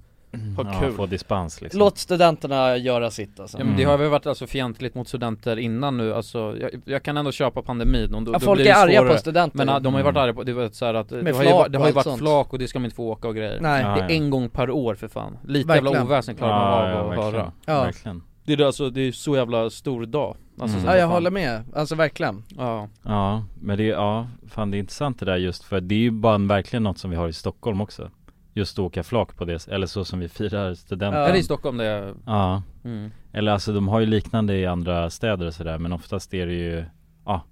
E: Ha kul. Ja, få dispens liksom.
C: Låt studenterna göra sitt alltså
B: Ja, men det har väl varit alltså fientligt mot studenter innan nu, alltså, jag, jag kan ändå köpa pandemin och då,
C: Ja,
B: då
C: folk
B: blir det
C: är arga
B: svårare.
C: på studenter.
B: Men ah, de har ju varit
C: Mm.
B: arga på, det, var så här att,
C: Med
B: det har ju,
C: flak
B: va- det
C: och
B: har ju
C: allt
B: varit
C: sånt.
B: flak och det ska man inte få åka och grejer
C: Nej.
B: Det
C: Ja,
B: är
C: ja.
B: en gång per år för fan, lite
C: Verkligen.
B: jävla oväsen klarar man
C: Ja,
B: av
C: ja,
B: att
C: verkligen.
B: höra
C: Ja. Verkligen.
B: Det är det, alltså, det är så jävla stor dag alltså,
C: Mm.
B: så
C: Ja
B: här,
C: jag
B: fan.
C: håller med, alltså verkligen
B: Ja
E: Ja, men det, är- ja, fan det är intressant det där just för det är ju bara en, verkligen något som vi har i Stockholm också Just att åka flak på det, eller så som vi firar studenten
B: Ja, det är i Stockholm det är-
E: Ja
B: Mm.
E: Eller alltså de har ju liknande i andra städer och sådär men oftast är det ju, ja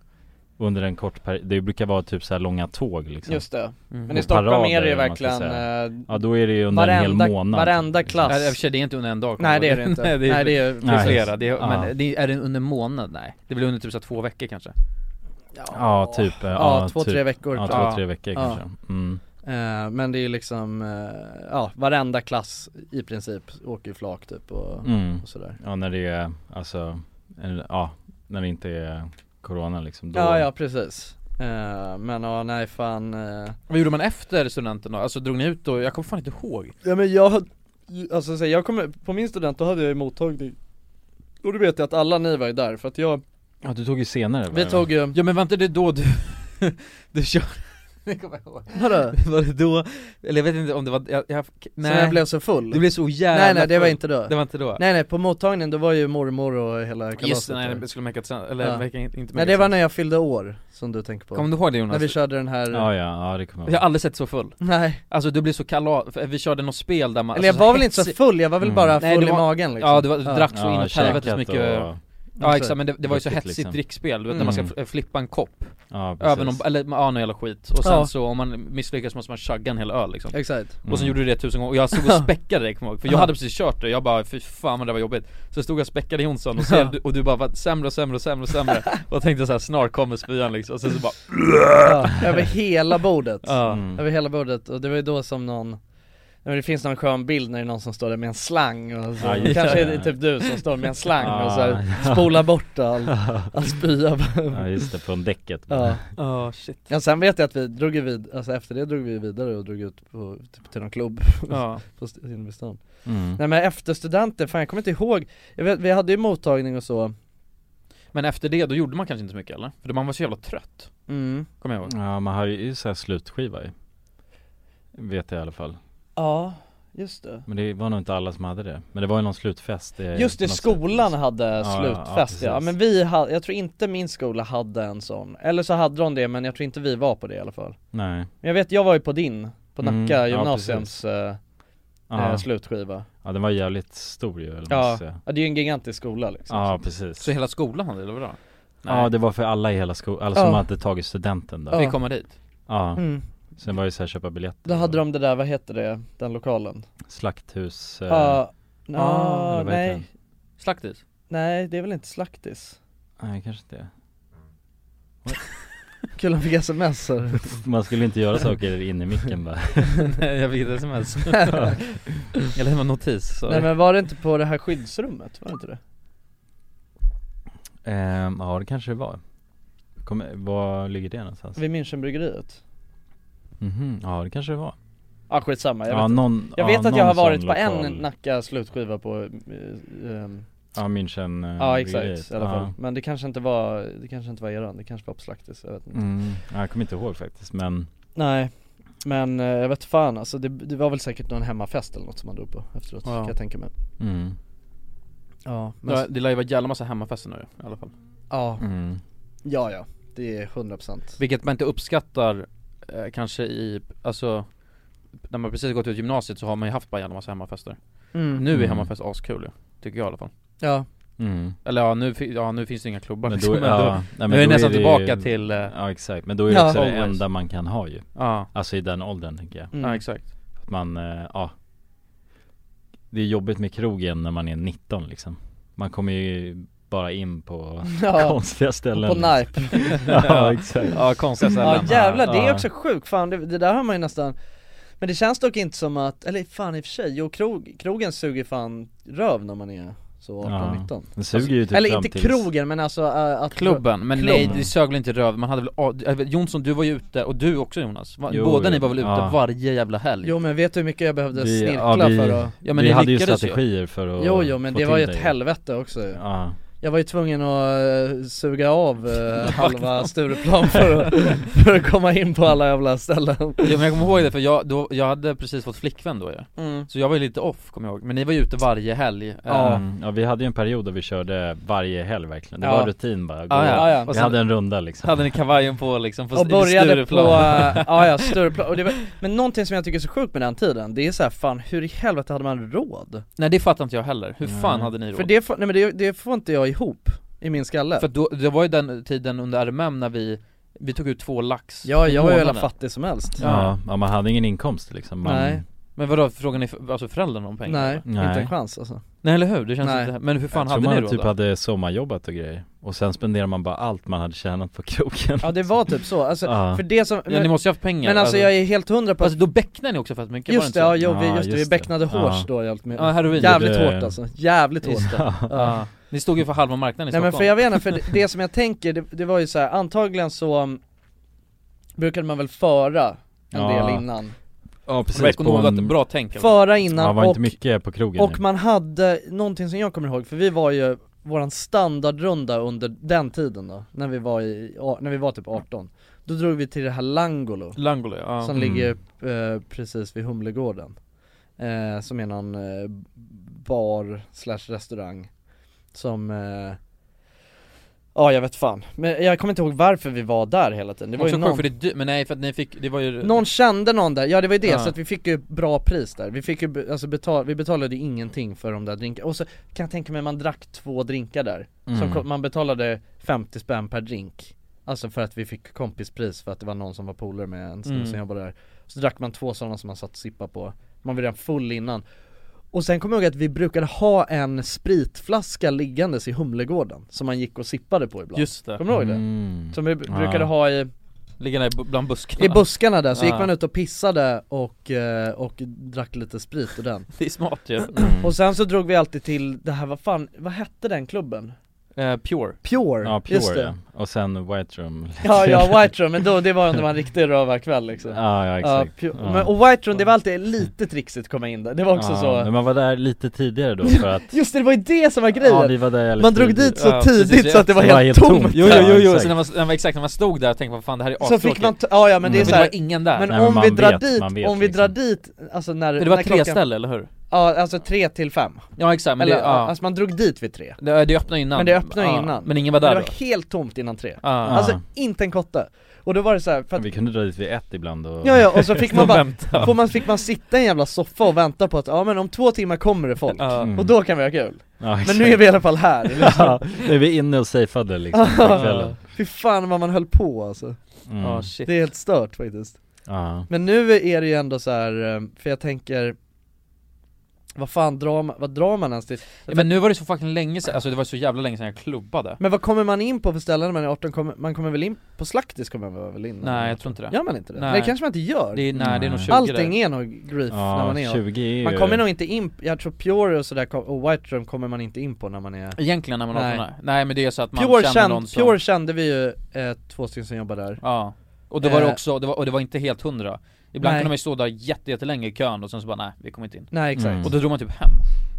E: Under en kort period, det brukar vara typ så här långa tåg liksom
C: Just det. Men
E: Och
C: i Stockholm är det ju
E: eller vad man ska
C: verkligen,
E: säga.
C: eh,
E: Ja då är det ju under en
C: varenda-
E: hel månad
C: varenda klass.
B: Nej, i och för sig, det är inte under en dag kommer
C: Nej, det
B: jag
C: är det
B: ihåg.
C: inte.
B: Nej det är,
C: Nej, det är-
B: det är flera,
C: precis.
B: det är,
C: Ja.
B: men det är, är det under en månad? Nej Det blir under typ så här två veckor kanske
E: Ja typ, ja,
C: Ja, två,
E: typ.
C: tre veckor
E: Ja
C: kanske.
E: två, tre veckor
C: Ja.
E: kanske mm.
C: Eh, Men det är ju liksom, eh, ja varenda klass i princip åker ju flak typ och,
E: Mm.
C: och sådär
E: Ja när det är, alltså, en- ja, när det inte är corona liksom då,
C: Ja ja precis Eh, Men ja nej fan eh,
B: Vad gjorde man efter studenten då? Alltså drog ni ut då? Jag kommer fan inte ihåg
C: Ja men jag, hade- alltså så här, jag kommer, på min student då hade jag ju mottagning Och du vet jag att alla ni var ju där för att jag
E: Ja du tog ju senare
C: Vi
E: va?
C: tog ju
B: Ja men vänta det är då du, du kör Det kommer jag ihåg
C: Vadå?
B: Var det då, eller jag vet inte om det var, jag, jag, nej
C: jag blev så full?
B: Du blev så jävla
C: Nej nej det var
B: full.
C: inte då
B: Det var inte då?
C: Nej nej på mottagningen då var ju mormor och hela kalaset
B: Just det, nej
C: där.
B: det skulle märka sen, eller
C: Ja.
B: verkar inte märka
C: Nej det var
B: sen.
C: när jag fyllde år, som du tänker på
B: Kommer du ihåg det Jonas?
C: När vi körde den här
E: Ja ja, ja det kommer
B: Jag har aldrig sett så full
C: Nej
B: Alltså du blev så kalas, vi körde något spel där man
C: Eller jag
B: alltså,
C: var väl inte så
B: hetsig-
C: full, jag var väl bara
B: Nej,
C: full
B: det
C: i
B: var-
C: magen liksom.
B: Ja du, var, du
C: Ja.
B: drack så
C: Ja,
B: inåt helvete
E: käkat
B: så mycket
E: och-
B: Ja exakt men det, det var ju så
E: Druckit,
B: hetsigt
E: liksom.
B: drickspel, du vet när man ska
E: Mm.
B: f- flippa en kopp
E: Ja, precis.
B: Över någon, eller ja, någon jävla skit Och sen
C: Ja.
B: så om man misslyckas måste man chugga en hel öl liksom
C: Exakt.
B: Och sen
C: Mm.
B: gjorde du det tusen gånger, och jag stod och späckade dig kommer jag ihåg, för jag hade precis kört det, jag bara fy fan vad det var jobbigt Så stod jag och späckade Jonsson och, så, och du bara var sämre och sämre och sämre och sämre Och tänkte såhär snart kommer spyan liksom, och sen så bara
C: Ja, över hela bordet.
B: Ja.
C: Över hela bordet, och det var ju då som någon Ja, men det finns någon skön bild när det är någon som står där med en slang och så,
B: Ja, just
C: kanske
B: det. Ah,
C: är det typ du som står med en slang och så här,
E: Ja.
C: spolar bort all, all spya
E: Ja just det, från däcket
C: Ja,
B: Ja, Oh, shit.
C: ja sen vet jag att vi drog ju vid, alltså efter det drog vi vidare och drog ut på, typ till någon klubb
B: Ja.
C: på st- inne vid stan
E: Mm.
C: Nej men efter studenten, fan jag kommer inte ihåg, jag vet, vi hade ju mottagning och så
B: Men efter det, då gjorde man kanske inte så mycket eller? För då man var så jävla trött
C: Mm.
B: Kommer jag ihåg
E: Ja man har ju så här slutskiva ju Vet jag i alla fall
C: Ja, just det
E: Men det var nog inte alla som hade det Men det var ju någon slutfest eh,
C: Just det,
E: på något
C: skolan hade
E: Ja,
C: slutfest ja,
E: ja, precis.
C: men vi hade, jag tror inte min skola hade en sån Eller så hade de det men jag tror inte vi var på det i alla fall
E: Nej.
C: Men jag vet, jag var ju på din, på
E: Mm,
C: Nacka
E: ja,
C: gymnasiums eh,
E: Ja.
C: eh, slutskiva
E: sätt. Ja den var jävligt stor ju eller vad man
C: ja.
E: ska säga.
C: ja, det är ju en gigantisk skola liksom
E: Ja precis
B: Så hela skolan hade det, eller vadå?
E: Ja det var för alla i hela skolan, alla som
C: Ja.
E: hade tagit studenten där
C: Ja. Fick
B: komma dit?
E: Ja
C: Mm.
E: Sen var det såhär köpa biljett
C: Då hade de det där, vad heter det, den lokalen?
E: Slakthus eh,
C: Ja, ja,
E: eller vad heter
C: nej,
E: den?
B: Slaktis?
C: nej det är väl inte Slaktis?
E: Nej kanske inte
C: Kul att fick sms här.
E: Man skulle inte göra saker in i micken bara
B: Nej jag fick ett sms Eller det var notis, sorry.
C: Nej men var det inte på det här skyddsrummet? Var det inte det?
E: Ehm, Ja det kanske det var Kommer- Var ligger det någonstans?
C: Vid Münchenbryggeriet?
E: Mhm, ja det kanske det var
C: ah, skitsamma, jag
E: Ja,
C: vet,
E: någon-
C: jag
E: ja,
C: vet att
E: någon
C: jag har varit
E: sån
C: på en
E: lokal.
C: Nacka slutskiva på eh, ehm,
E: Ja, München, eh,
C: Ja exakt
E: bryggeriet.
C: i alla fall,
E: Ja.
C: men det kanske inte var, det kanske inte var eran, det kanske var på Slaktis, jag vet inte
E: Mm, ja, jag kommer inte ihåg faktiskt men
C: Nej men eh, jag vet fan alltså det, det var väl säkert någon hemmafest eller något som man drog på efteråt
B: Ja.
C: kan jag tänka mig
E: Mm.
C: Ja men
B: Det, det lär ju vara jävla massa hemmafester nu i alla fall
C: Ja
E: Mm.
C: Ja ja, det är 100%
B: Vilket man inte uppskattar eh, kanske i, alltså När man precis gått ut gymnasiet så har man ju haft bara en jävla massa hemmafester
C: Mm.
B: Nu är
C: Mm.
B: hemmafest askul ju, tycker jag i alla fall
C: Ja.
E: Mm.
B: Eller ja nu, fi- ja, nu finns det inga klubbar
E: Men
B: liksom,
E: då,
B: men
E: ja,
B: då-
E: nej, men
B: Nu är
E: då
B: vi nästan
E: det ju-
B: tillbaka till eh,
E: Ja exakt, men då är det
B: ja.
E: också det
B: Always.
E: enda man kan ha ju
B: Ja.
E: Alltså i den åldern tänker jag
B: Mm. Ja, exakt.
E: Att man, eh, ja Det är jobbigt med krogen när man är 19 liksom Man kommer ju bara in på
C: Ja,
E: konstiga ställen
C: På NIPE
E: Ja exakt
B: Ja, konstiga
C: Ja
B: ställen.
C: jävlar, det är
B: Ja.
C: också sjukt, fan det, det där har man ju nästan Men det känns dock inte som att, eller fan i och för sig, jo krog, krogen suger fan röv när man är så 18-19
B: Ja,
E: den suger ju typ
C: Eller
E: fram
C: inte
E: tills-
C: krogen men alltså äh, att
B: Klubben, men
C: Klubben.
B: nej det sög väl inte röv, man hade väl, ah, jag vet, Jonsson du var ju ute, och du också Jonas, Va,
E: Jo,
B: båda ni
E: jo.
B: var väl ute
E: Ja.
B: varje jävla helg?
C: Jo men vet du hur mycket jag behövde
E: Vi-
C: snirkla
E: ja, vi-
C: för att
E: Ja, men vi ni hade ju lyckades ju. strategier för att
C: Jo jo men
E: få
C: det var
E: till
C: ju ett
E: dig.
C: helvete också ju.
E: Ja.
C: Jag var ju tvungen att eh, suga av eh, halva Stureplan för att, för att komma in på alla jävla ställen
B: Ja, men jag kommer ihåg det för jag, då, jag hade precis fått flickvän då ju
C: Mm.
B: Så jag var ju lite off kommer jag ihåg, men ni var ju ute varje helg
E: Ja.
B: Eh,
E: Mm, ja, vi hade ju en period där vi körde varje helg verkligen Det
B: Ja.
E: var rutin bara, gå,
B: Ja, ja. Ja, ja.
E: vi hade en runda liksom
B: Hade ni kavajen på liksom på
C: och
B: i
C: började på,
B: Stureplan.
C: äh, ja ja, Stureplan, och det var, men någonting som jag tycker är så sjukt med den tiden, det är så här, fan hur i helvete hade man råd?
B: Nej det fattar inte jag heller, hur fan hade ni råd?
C: För det, får- nej men det, det får inte jag ihop i min skalle
B: För då, det var ju den tiden under RMM när vi, vi tog ut två lax
C: Ja,
B: i
C: jag var ju
B: månaden.
C: jävla fattig som helst.
E: ja. ja, man hade ingen inkomst liksom man,
C: Nej.
B: Men vadå, frågan är alltså föräldrarna om pengar?
C: Nej,
B: eller?
C: inte en chans alltså
B: Nej eller hur, det känns
C: Nej.
B: inte, men hur fan
E: jag
B: hade
E: tror
B: ni
E: man
B: råd
E: typ
B: då?
E: hade sommarjobbat och grejer Och sen spenderade man bara allt man hade tjänat på krogen
C: Ja det var typ så, alltså,
E: Ja.
C: för det som
E: Ja, ni måste ju haft pengar,
C: Men alltså,
E: alltså.
C: jag är helt hundra på
B: Alltså då becknade ni också fett mycket, var
C: Just det,
B: inte
C: ja,
B: så?
C: jo, vi, just det, vi becknade hårs
B: Ja.
C: då jävligt mycket
B: Ja, heroin
C: Jävligt
B: Det-
C: hårt alltså, jävligt hårt
B: Just det. Ja. Ni stod ju för halva marknaden i
C: Nej men
B: Stockholm.
C: för jag vet inte, för det, det som jag tänker, det, det var ju så här, antagligen så um, brukade man väl föra en
E: Ja.
C: del innan
E: Ja precis,
B: Det var ekonomiskt ett bra tänk alltså.
C: Föra innan
E: Ja, var
C: och,
E: inte mycket på krogen
C: och
E: ju.
C: man hade någonting som jag kommer ihåg, för vi var ju våran standardrunda under den tiden då, när vi var, i, ja, när vi var typ 18 Då drog vi till det här Langolo
B: Langolo, ja.
C: Som
B: Mm.
C: ligger eh, precis vid Humlegården eh, Som är någon eh, bar slash restaurang Som eh, Ja jag vet fan, men jag kommer inte ihåg varför vi var där hela tiden, det var
B: Också
C: ju
B: sjukt
C: någon,
B: för det, dy- men nej för att ni fick, det var ju
C: någon kände någon där, ja det var ju det,
B: Ja.
C: så att vi fick ju bra pris där Vi fick ju, be- alltså betal, vi betalade ju ingenting för de där drinkarna, och så kan jag tänka mig man drack två drinkar där som
B: Mm.
C: kom, Man betalade 50 spänn per drink Alltså för att vi fick kompispris för att det var någon som var polare med en snubbe
B: Mm.
C: som jobbade där Så drack man två sådana som man satt och sippade på, man var redan full innan och sen kommer jag ihåg att vi brukade ha en spritflaska liggandes i Humlegården Som man gick och sippade på ibland
B: Just det.
C: Kommer du ihåg det?
B: Mm.
C: Som vi b-
B: Ja.
C: brukade ha i
B: Ligga där bland buskarna
C: i buskarna där, så gick
B: Ja.
C: man ut och pissade och, eh, och drack lite sprit och den
B: Det är smart ju
C: Och sen så drog vi alltid till det här, vad fan, vad hette den klubben?
B: Eh, Pure
C: Pure,
E: Ja Pure
C: just det.
E: ja. och sen White Room
C: Ja, ja White Room, men då, det var om det var en riktig rövarkväll liksom
E: Ja, ja, exakt.
C: pure-
E: Ja.
C: Men, och White Room, det var alltid lite trixigt att komma in där, det var också
E: ja,
C: så
E: Men man var där lite tidigare då för att
C: Just det, det var ju det som var grejen!
E: Ja, vi var där jävligt
C: Man drog
E: tidigt.
C: dit så
E: Ja,
C: tidigt
E: precis,
C: så att det var
E: det
C: helt,
E: var
C: tomt,
E: helt tomt.
B: Jo jo jo, jo.
E: exakt.
B: så när man, när man, exakt, när man stod där och tänkte vad fan det här är
C: Så fick man, ta, ja, ja men det är
B: så
C: så här,
B: Mm. det var ingen där
C: Men
B: Nej,
C: om
B: man
C: vi drar
B: vet,
C: dit,
B: man vet
C: om vi drar dit, alltså när
B: Men det var
C: när
B: tre ställen, eller hur?
C: Ja, alltså tre till fem
B: Ja exakt, men
C: Eller,
B: det, ja.
C: alltså man drog dit vid tre
B: det, det öppnade innan
C: Men det öppnade
B: Ja,
C: innan
B: Men ingen var där
C: Det
B: då? Ah,
C: var helt tomt innan tre
B: Ja.
C: Alltså inte en kotte Och då var det så här, för att
E: Vi kunde dra dit vid ett ibland och
C: Ja, ja, och så fick man bara,
E: vänta.
C: får man, fick man sitta i en jävla soffa och vänta på att ja men om två timmar kommer det folk,
B: Ah.
E: Mm.
C: och då kan vi ha kul
E: Ja,
C: Men
E: exakt.
C: nu är vi i alla fall här liksom.
E: Ja, nu är vi inne och safeade liksom på kvällen
C: Fy fan vad man höll på alltså
E: Mm. Ja, shit.
C: Det är helt stört faktiskt
E: Ja.
C: Men nu är det ju ändå så här eh, för jag tänker Vad fan drar man, vad drar man ens till?
B: Ja, men nu var det så fucking länge sedan, alltså det var så jävla länge sedan jag klubbade
C: Men vad kommer man in på för ställen när man är 18? Kommer, man kommer väl in på Slaktis kommer man väl in?
B: Nej jag tror inte det
C: Gör man inte det? Nej, kanske man inte gör
B: det är, Nej det är nog 20
C: Allting
B: där.
C: är nog grief
E: Ja,
C: när man är
E: 20 är ju-
C: Man kommer nog inte in, jag tror Pure och sådär kom- och White Room kommer man inte in på när man är
B: Egentligen när man har
C: Nej.
B: sådana här. Nej men det är så att man
C: Pure,
B: känner
C: känd,
B: någon som
C: Pure kände vi ju eh, två stycken som jobbar där
B: Ja Och det var det
C: Eh,
B: också, det var, och det var inte helt hundra Ibland
C: Nej.
B: kunde man ju stå där jätte- jättelänge i kön och sen så bara nej, vi kommer inte in
C: Nej, exakt.
B: Och då drog man typ hem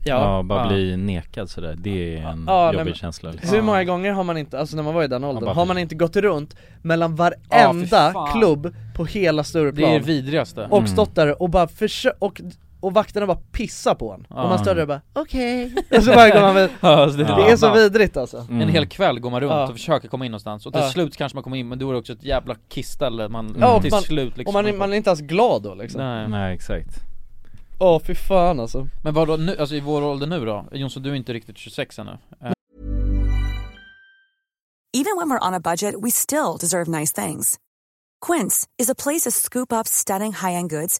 K: Ja, bara bli nekad sådär, det är en
C: Ja, nej,
K: jobbig
C: men-
K: känsla liksom.
C: Hur många gånger har man inte, alltså när man var i den åldern,
K: bara-
C: har man inte gått runt
B: Ja,
C: mellan varenda
B: fy fan.
C: klubb på hela Stureplan
B: Det är det vidrigaste.
C: Och
B: Mm.
C: stått där och bara försö- och, och vakterna bara pissar på en, och
B: Ja.
C: man står där och bara okej, och så bara går man vid-
B: Ja, alltså
C: det,
B: är
C: är så
B: fan.
C: vidrigt alltså
B: En hel kväll går man runt
C: Ja.
B: och försöker komma in någonstans och till
C: Ja.
B: slut kanske man kommer in men då är det också ett jävla kissställe man,
C: Ja, och
B: till
C: man-
B: slut liksom
C: och man är- man är inte ens glad då, liksom.
E: Mm.
B: Nej,
K: Nej exakt
C: Åh fy fan alltså
B: Men vadå nu, alltså i vår ålder nu då? Jonsson du är inte riktigt 26 ännu Eh,
H: Even when we're on a budget, we still deserve nice things. Quince is a place to scoop up stunning high end goods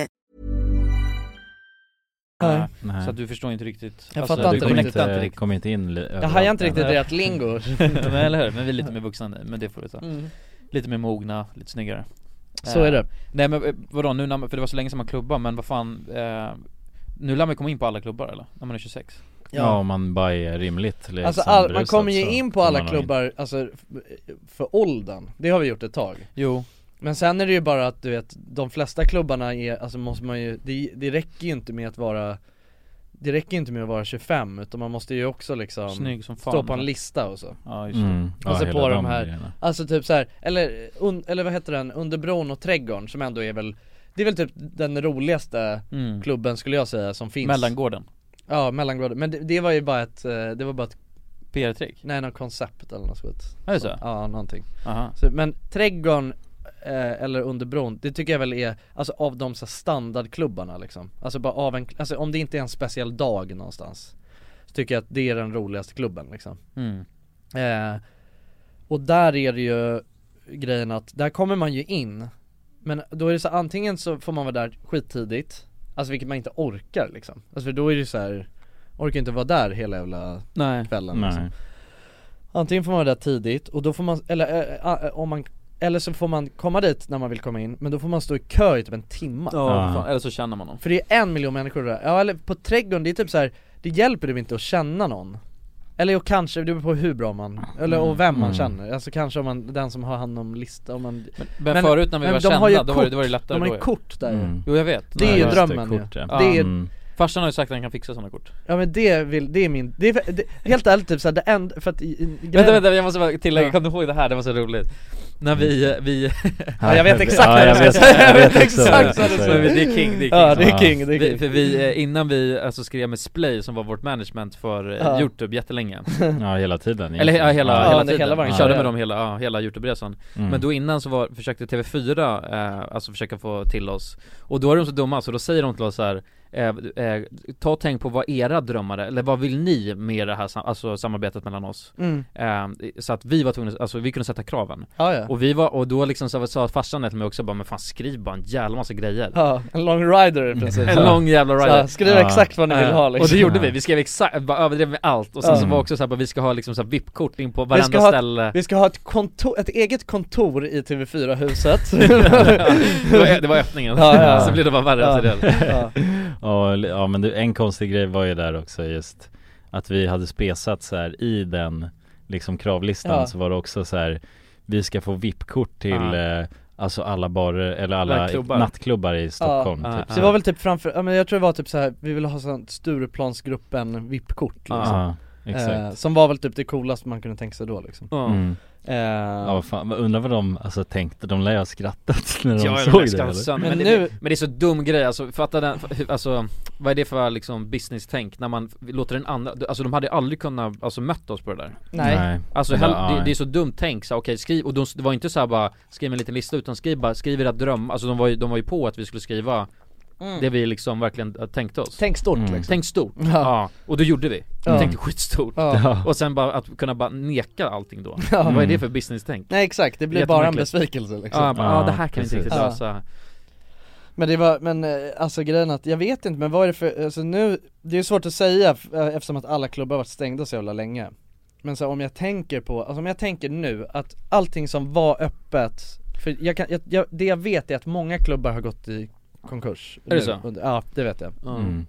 B: nej. Så att du förstår inte riktigt alltså,
C: Jag fattar
B: du
C: inte
B: connectar
C: riktigt.
K: Kom inte in li-
C: Jag hajar inte riktigt rätt lingo
B: Nej eller hur, men vi är lite mer vuxna nu, men det får du ta
C: Mm.
B: Lite mer mogna, lite snyggare
C: Så
B: Eh,
C: är det.
B: Nej men eh, vadå nu när man, för det var så länge sedan man klubbade men vad fan eh, Nu lär man ju komma in på alla klubbar eller? När man är 26?
K: Ja om man bara är rimligt liksom,
C: Alltså all, man
K: berusad,
C: kommer ju
K: så
C: in på
K: kommer
C: alla
K: man nog
C: klubbar, alltså f- för åldern, det har vi gjort ett tag
B: Jo
C: Men sen är det ju bara att du vet, de flesta klubbarna är, alltså måste man ju, det, det räcker ju inte med att vara Det räcker ju inte med att vara 25 utan man måste ju också liksom
B: Snygg som fan.
C: Stå på en lista och så
B: Ja
K: just det. Mm. Ja,
C: Alltså
K: hela
C: på de
K: de
C: här,
K: grejerna.
C: alltså typ så här, eller, un, eller vad heter den, Under bron och trädgården som ändå är väl Det är väl typ den roligaste
B: Mm.
C: klubben skulle jag säga som finns
B: Mellangården
C: Ja, mellangården, men det, det var ju bara ett, eh, det var bara ett
B: PR-trick?
C: Nej, något koncept eller något skit
B: Är det så?
C: Ja, någonting
B: Aha.
C: så, Men trädgården eh, eller under bron, det tycker jag väl är, alltså av de så här standardklubbarna liksom Alltså bara av en, alltså om det inte är en speciell dag någonstans Så tycker jag att det är den roligaste klubben liksom
B: Mm.
C: eh, Och där är det ju grejen att, där kommer man ju in Men då är det så här, antingen så får man vara där skittidigt Alltså vilket man inte orkar liksom Alltså för då är det ju så här orkar inte vara där hela jävla
B: Nej.
C: kvällen
B: Nej.
C: Liksom. Antingen får man vara där tidigt och då får man, eller eh, eh, om man eller så får man komma dit när man vill komma in, men då får man stå i kö i typ en timme
B: Ja, fan, eller så känner man dem
C: För det är en miljon människor där, ja eller på trädgården, det är typ så här. det hjälper typ inte att känna någon Eller och kanske, det beror på hur bra man, eller och vem man
B: Mm.
C: känner, alltså kanske om man, den som har hand om listan om man
B: Men, förut när vi var
C: de
B: kända,
C: har ju
B: då, var det,
C: kort.
B: då var det lättare
C: De
B: då
C: har
B: Mm.
C: ju kort där
K: Mm.
C: ju.
B: Jo jag vet
C: Det är ju drömmen ju. Det är,
B: Farsan har ju sagt att han kan fixa sådana kort
C: Ja men det vill, det är min, det är, det, helt ärligt typ såhär, det enda, för att i, i,
B: Vänta vänta, jag måste bara tillägga,
C: Ja.
B: kan du ihåg det här? Det var så roligt När vi, vi
C: Ja, jag vet exakt vad du ska säga.
B: jag
C: Jag
B: vet
C: vet
B: exakt
C: exakt
B: vad du
C: vad du
B: säger.
C: säger.
B: Men Det är king, det är king
C: Ja, det är king, det
B: Vi-
C: är king.
B: För vi, eh, innan vi alltså skrev med Splay som var vårt management för eh,
K: Ja.
B: Youtube jättelänge
K: Ja, hela tiden,
B: Eller ja,
K: egentligen.
B: hela,
K: Ja,
B: hela
K: under
B: tiden,
K: hela vår
B: vi körde med
K: karriär.
B: dem hela, ja, hela Youtube-resan
K: Mm.
B: Men då innan så var, försökte TV4 eh, alltså försöka få till oss Och då är de så dumma så då säger de till oss så här eh, eh, Ta och tänk på vad era drömmar är, eller vad vill ni med det här sam- alltså, samarbetet mellan oss?
C: Mm.
B: Eh, så att vi var tvungna, alltså vi kunde sätta kraven
C: Ja, ja.
B: Och vi var, och då liksom så sa farsan till mig också bara men fan skriv bara en jävla massa grejer
C: Ja, en long rider i princip
B: en lång jävla
C: Så
B: rider
C: här, Skriv exakt vad ni vill
B: Eh,
C: ha liksom
B: Och det gjorde vi, vi skrev exakt, bara överdrev med allt och sen
C: Ja.
B: så var också så här, bara, vi ska ha liksom så här VIP-kort in på
C: vi
B: varenda
C: ska, ha,
B: ställe
C: ett- vi ska ha ett kontor, ett eget kontor i TV4-huset
B: det, var, det var öppningen,
C: ja, ja.
B: så blev det bara värre
C: Ja. Mm.
B: efter det
C: Ja.
A: Ja, eller- ja men du, en konstig grej var ju där också just att vi hade spesat så här i den liksom kravlistan
C: Ja.
A: så var det också så här vi ska få VIP-kort till
C: Ja.
A: eh, alltså alla barer eller alla
C: Nattklubbar.
A: nattklubbar i Stockholm
C: ja,
A: typ.
C: Så det var väl typ framför, ja men jag tror det var typ så här, vi ville ha sånt Stureplansgruppen VIP-kort liksom.
A: Ja, exakt.
C: Eh, Som var väl typ det coolaste man kunde tänka sig då liksom
A: Mm.
C: Eh,
A: Ja vad fan, vad- undrar vad de alltså tänkte, de lär ju ha skrattat när de
B: Ja,
A: såg det
B: eller?
A: eller?
B: Men, men,
C: Men
B: det,
C: nu-
B: men det är så dum grej, alltså fatta den, alltså vad är det för liksom business-tänk när man låter den andra, alltså de hade aldrig kunnat, alltså mött oss på det där
C: Nej.
A: Nej.
B: Alltså hell,
A: Ja,
B: det,
A: nej.
B: det är så dumt tänk, så här, okej skriv, och de, det var inte så här bara skriv en liten lista utan skriv bara, skriv era drömmar, alltså de var ju, de var ju på att vi skulle skriva
C: Mm.
B: Det vi liksom verkligen eh, tänkte oss
C: Tänk stort, Mm. liksom.
B: Tänk stort,
C: Ja.
B: ja, och då gjorde vi,
C: Ja.
B: vi tänkte skitstort
C: Ja.
B: Och sen bara att kunna bara neka allting då,
C: Ja.
B: vad är det för business-tänk?
C: Nej exakt, det blir bara en
B: Jättemärkligt.
C: besvikelse liksom
B: Ja, bara, ja, det här kan vi inte riktigt
C: Ja.
B: lösa
C: Men det var, men eh, alltså grejen att, jag vet inte men vad är det för, alltså nu, det är ju svårt att säga f- eh, eftersom att alla klubbar har varit stängda så jävla länge Men så här, om jag tänker på, alltså om jag tänker nu att allting som var öppet, för jag kan, jag, jag, det jag vet är att många klubbar har gått i konkurs
B: Är det
C: nu,
B: så?
C: under- Ja, det vet jag
B: Mm.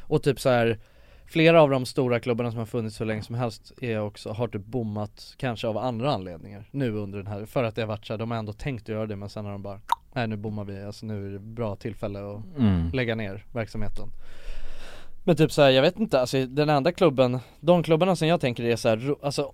C: Och typ så här Flera av de stora klubbarna som har funnits så länge som helst är också, har typ bommat kanske av andra anledningar nu under den här, för att det har varit så här, de har ändå tänkt att göra det men sen har de bara Nej nu bommar vi, alltså nu är det bra tillfälle att
A: Mm.
C: lägga ner verksamheten Men typ såhär, jag vet inte, alltså den enda klubben, de klubbarna som jag tänker är såhär, ro, alltså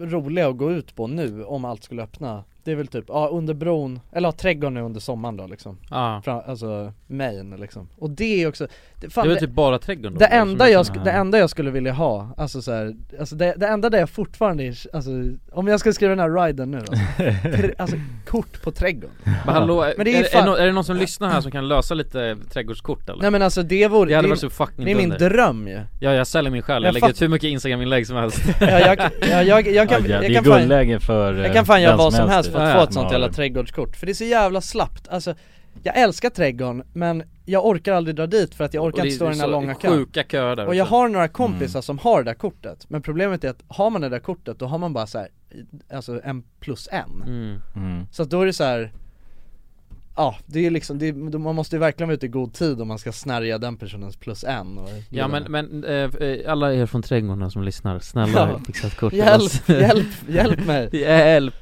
C: roliga att gå ut på nu om allt skulle öppna Det är väl typ, ja under bron, eller ja, trädgården nu under sommaren då liksom
B: Ja.
C: Fra, Alltså main liksom, och det är också det,
B: Det är väl typ bara trädgården då,
C: det,
B: eller?
C: enda
B: Som
C: jag,
B: är-
C: sk- det enda jag skulle vilja ha, alltså så här, alltså det, det enda där jag fortfarande är, alltså om jag skulle skriva den här riden nu alltså, tr- alltså kort på trädgården
B: Men hallå,
C: Men
B: är,
C: det är
B: är,
C: ju
B: är,
C: fan-
B: nå- är det någon som lyssnar här som kan lösa lite trädgårdskort eller?
C: Nej men alltså det vore,
B: det hade
C: är-
B: varit så fucking
C: det är min
B: dunder.
C: dröm ju
B: Ja jag säljer min själ, jag,
C: Jag
B: lägger
C: fatt-
B: ut hur mycket instagram-inlägg som helst
C: Ja, jag, ja, jag, jag kan,
A: Ja,
C: jag
A: det är
C: kan fan,
A: guldläge för, eh,
C: Jag kan fan göra
A: vem
C: vad
A: som
C: som helst
A: helst.
C: för att
A: Ja,
C: få
A: ja.
C: ett sånt jävla trädgårdskort, för det är så jävla slappt, alltså Jag älskar trädgården, men jag orkar aldrig dra dit för att jag
B: Och det
C: orkar
B: är
C: inte stå i den här
B: så
C: långa kön
B: sjuka köer där
C: Och jag
B: också.
C: har några kompisar
A: Mm.
C: som har det där kortet, men problemet är att har man det där kortet då har man bara så här, alltså en plus en
B: Mm. Mm.
C: Så att då är det så här. Ja, det är liksom, det är, man måste ju verkligen vara ute i god tid om man ska snärja den personens plus en och,
B: Ja men, men eh, eh, alla er från trädgården som lyssnar, snälla
C: Ja.
B: fixa ett kort till oss.
C: Hjälp, hjälp, hjälp mig
B: Alltså, Hjälp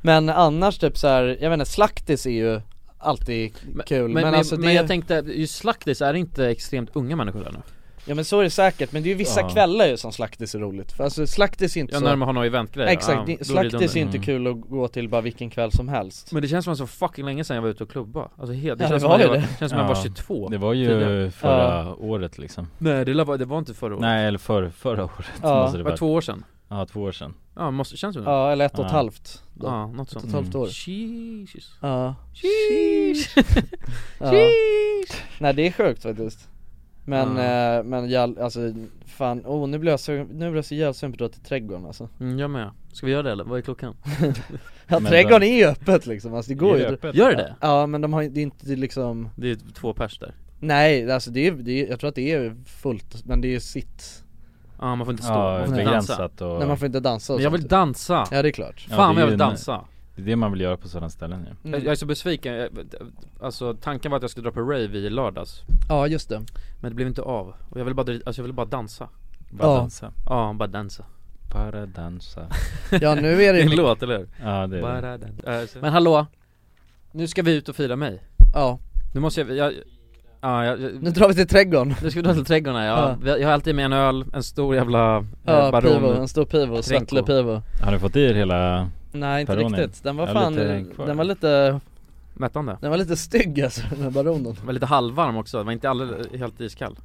C: Men annars typ så här, jag vet inte, slaktis är ju alltid kul
B: Men,
C: Men,
B: men,
C: alltså
B: men
C: det,
B: jag tänkte, ju slaktis, är det inte extremt unga människor där nu?
C: ja men så är det säkert, men det är ju vissa
B: Ja.
C: kvällar ju som slaktis är roligt För alltså slaktis är inte
B: Ja,
C: så
B: när de har någon eventgrej. Ja,
C: Exakt, det-
B: då blir det
C: slaktis
B: dunder.
C: är inte
B: Mm.
C: kul att gå till bara vilken kväll som helst
B: Men det känns som att det var så fucking länge sedan jag var ute och klubba Alltså helt, det
C: Ja,
B: känns
C: det
B: som
C: var
B: att jag
C: ju
B: var,
C: det.
B: det känns som att jag var
A: Ja,
B: 22
A: Det var ju
B: tidigare.
A: förra året liksom
B: Nej det var, det var inte förra året
A: Nej eller för, förra året
B: Ja.
A: måste det
B: Var
A: varit.
B: två år sedan?
A: Ja två år sedan
B: Ja, måste, känns det nu?
C: Ja, eller ett och ett halvt då.
B: Ja, Mm. något
C: Ett och
B: sånt
C: ett halvt år.
B: Jesus.
C: Ja
B: Sheesh.
C: Ja. Nej det är sjukt faktiskt Men, eh, men jag, alltså fan, oh nu blir jag så, nu blir jag så jävla sugen på att dra till trädgården alltså
B: Mm, jag med. Ska vi göra det eller? Vad är klockan?
C: Ja trädgården är ju öppet liksom, alltså det går ju
B: Gör det det?
C: Ja men de har ju- det är inte det är liksom
B: Det är två pers där
C: Nej alltså det är, det är, jag tror att det är fullt, men det är sitt
B: Ja man får inte stå,
A: Ja,
B: man får inte
A: begränsat
B: dansa.
A: och-
C: Nej man får inte dansa och
B: Men jag
C: sånt.
B: vill dansa!
C: Ja det är klart Mm.
A: Ja,
B: Fan
A: det
B: vad jag
A: är
B: vill
A: ju en-
B: dansa!
A: Det är det man vill göra på sådana ställen ju
B: Jag, jag är så besviken, jag, alltså tanken var att jag skulle dra på rave i lördags
C: Ja just det
B: Men det blev inte av, och jag ville bara, dri- alltså jag ville bara dansa
A: Bara Ja. dansa.
B: Ja, bara dansa
A: Bara dansa
C: Ja, nu är det-
B: en låt eller hur?
A: Ja, det är det.
B: bara dansa. Eh, Men hallå, nu ska vi ut och fira mig
C: Ja
B: Nu måste jag, jag, ja, jag
C: Nu drar vi till trädgården
B: Nu ska vi dra till trädgården ja,
C: Ja.
B: Vi- jag har alltid med en öl, en stor jävla eh,
C: Ja,
B: baron
C: pivo, en stor pivo,
B: Trenko.
C: Sättle pivo
A: Har du fått i er hela
C: Nej inte
A: Peronin?
C: riktigt, den var
A: Jag är
C: fan,
A: lite kvar.
C: den var lite
B: Mättande?
C: Den var lite stygg alltså den här baronen
B: Den var lite halvvarm också, den var inte alldeles, helt iskall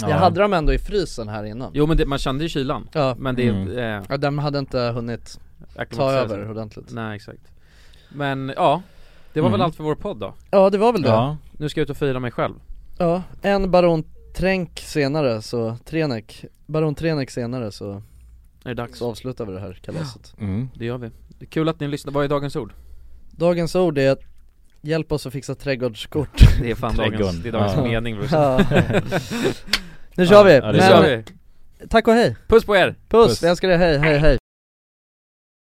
C: Jag hade dem ändå i frysen här innan
B: Jo men det, man kände ju kylan,
C: Ja.
B: men det,
C: Mm.
B: eh,
C: Ja den hade inte hunnit ta
B: acklimatisera sig.
C: över ordentligt
B: Nej exakt Men ja, det var väl
C: Mm.
B: allt för vår podd då?
C: Ja det var väl det Ja,
B: Nu ska jag ut och fira mig själv
C: en baron Tränk senare så, Trenek, baron Trenek senare så Är
B: det dags?
C: Så avslutar vi det här kalaset
A: Mm.
B: Det gör vi Kul att ni lyssnar, vad är dagens ord?
C: Dagens ord är Hjälp oss att fixa trädgårdskort
B: Det är fan dagens, det är dagens
C: Ja.
B: mening brorsan.
C: Ja. Nu kör vi!
B: Ja, det
C: Men-
B: kör vi!
C: Tack och hej!
B: Puss på er!
C: Puss,
B: Puss.
C: jag älskar dig, hej hej hej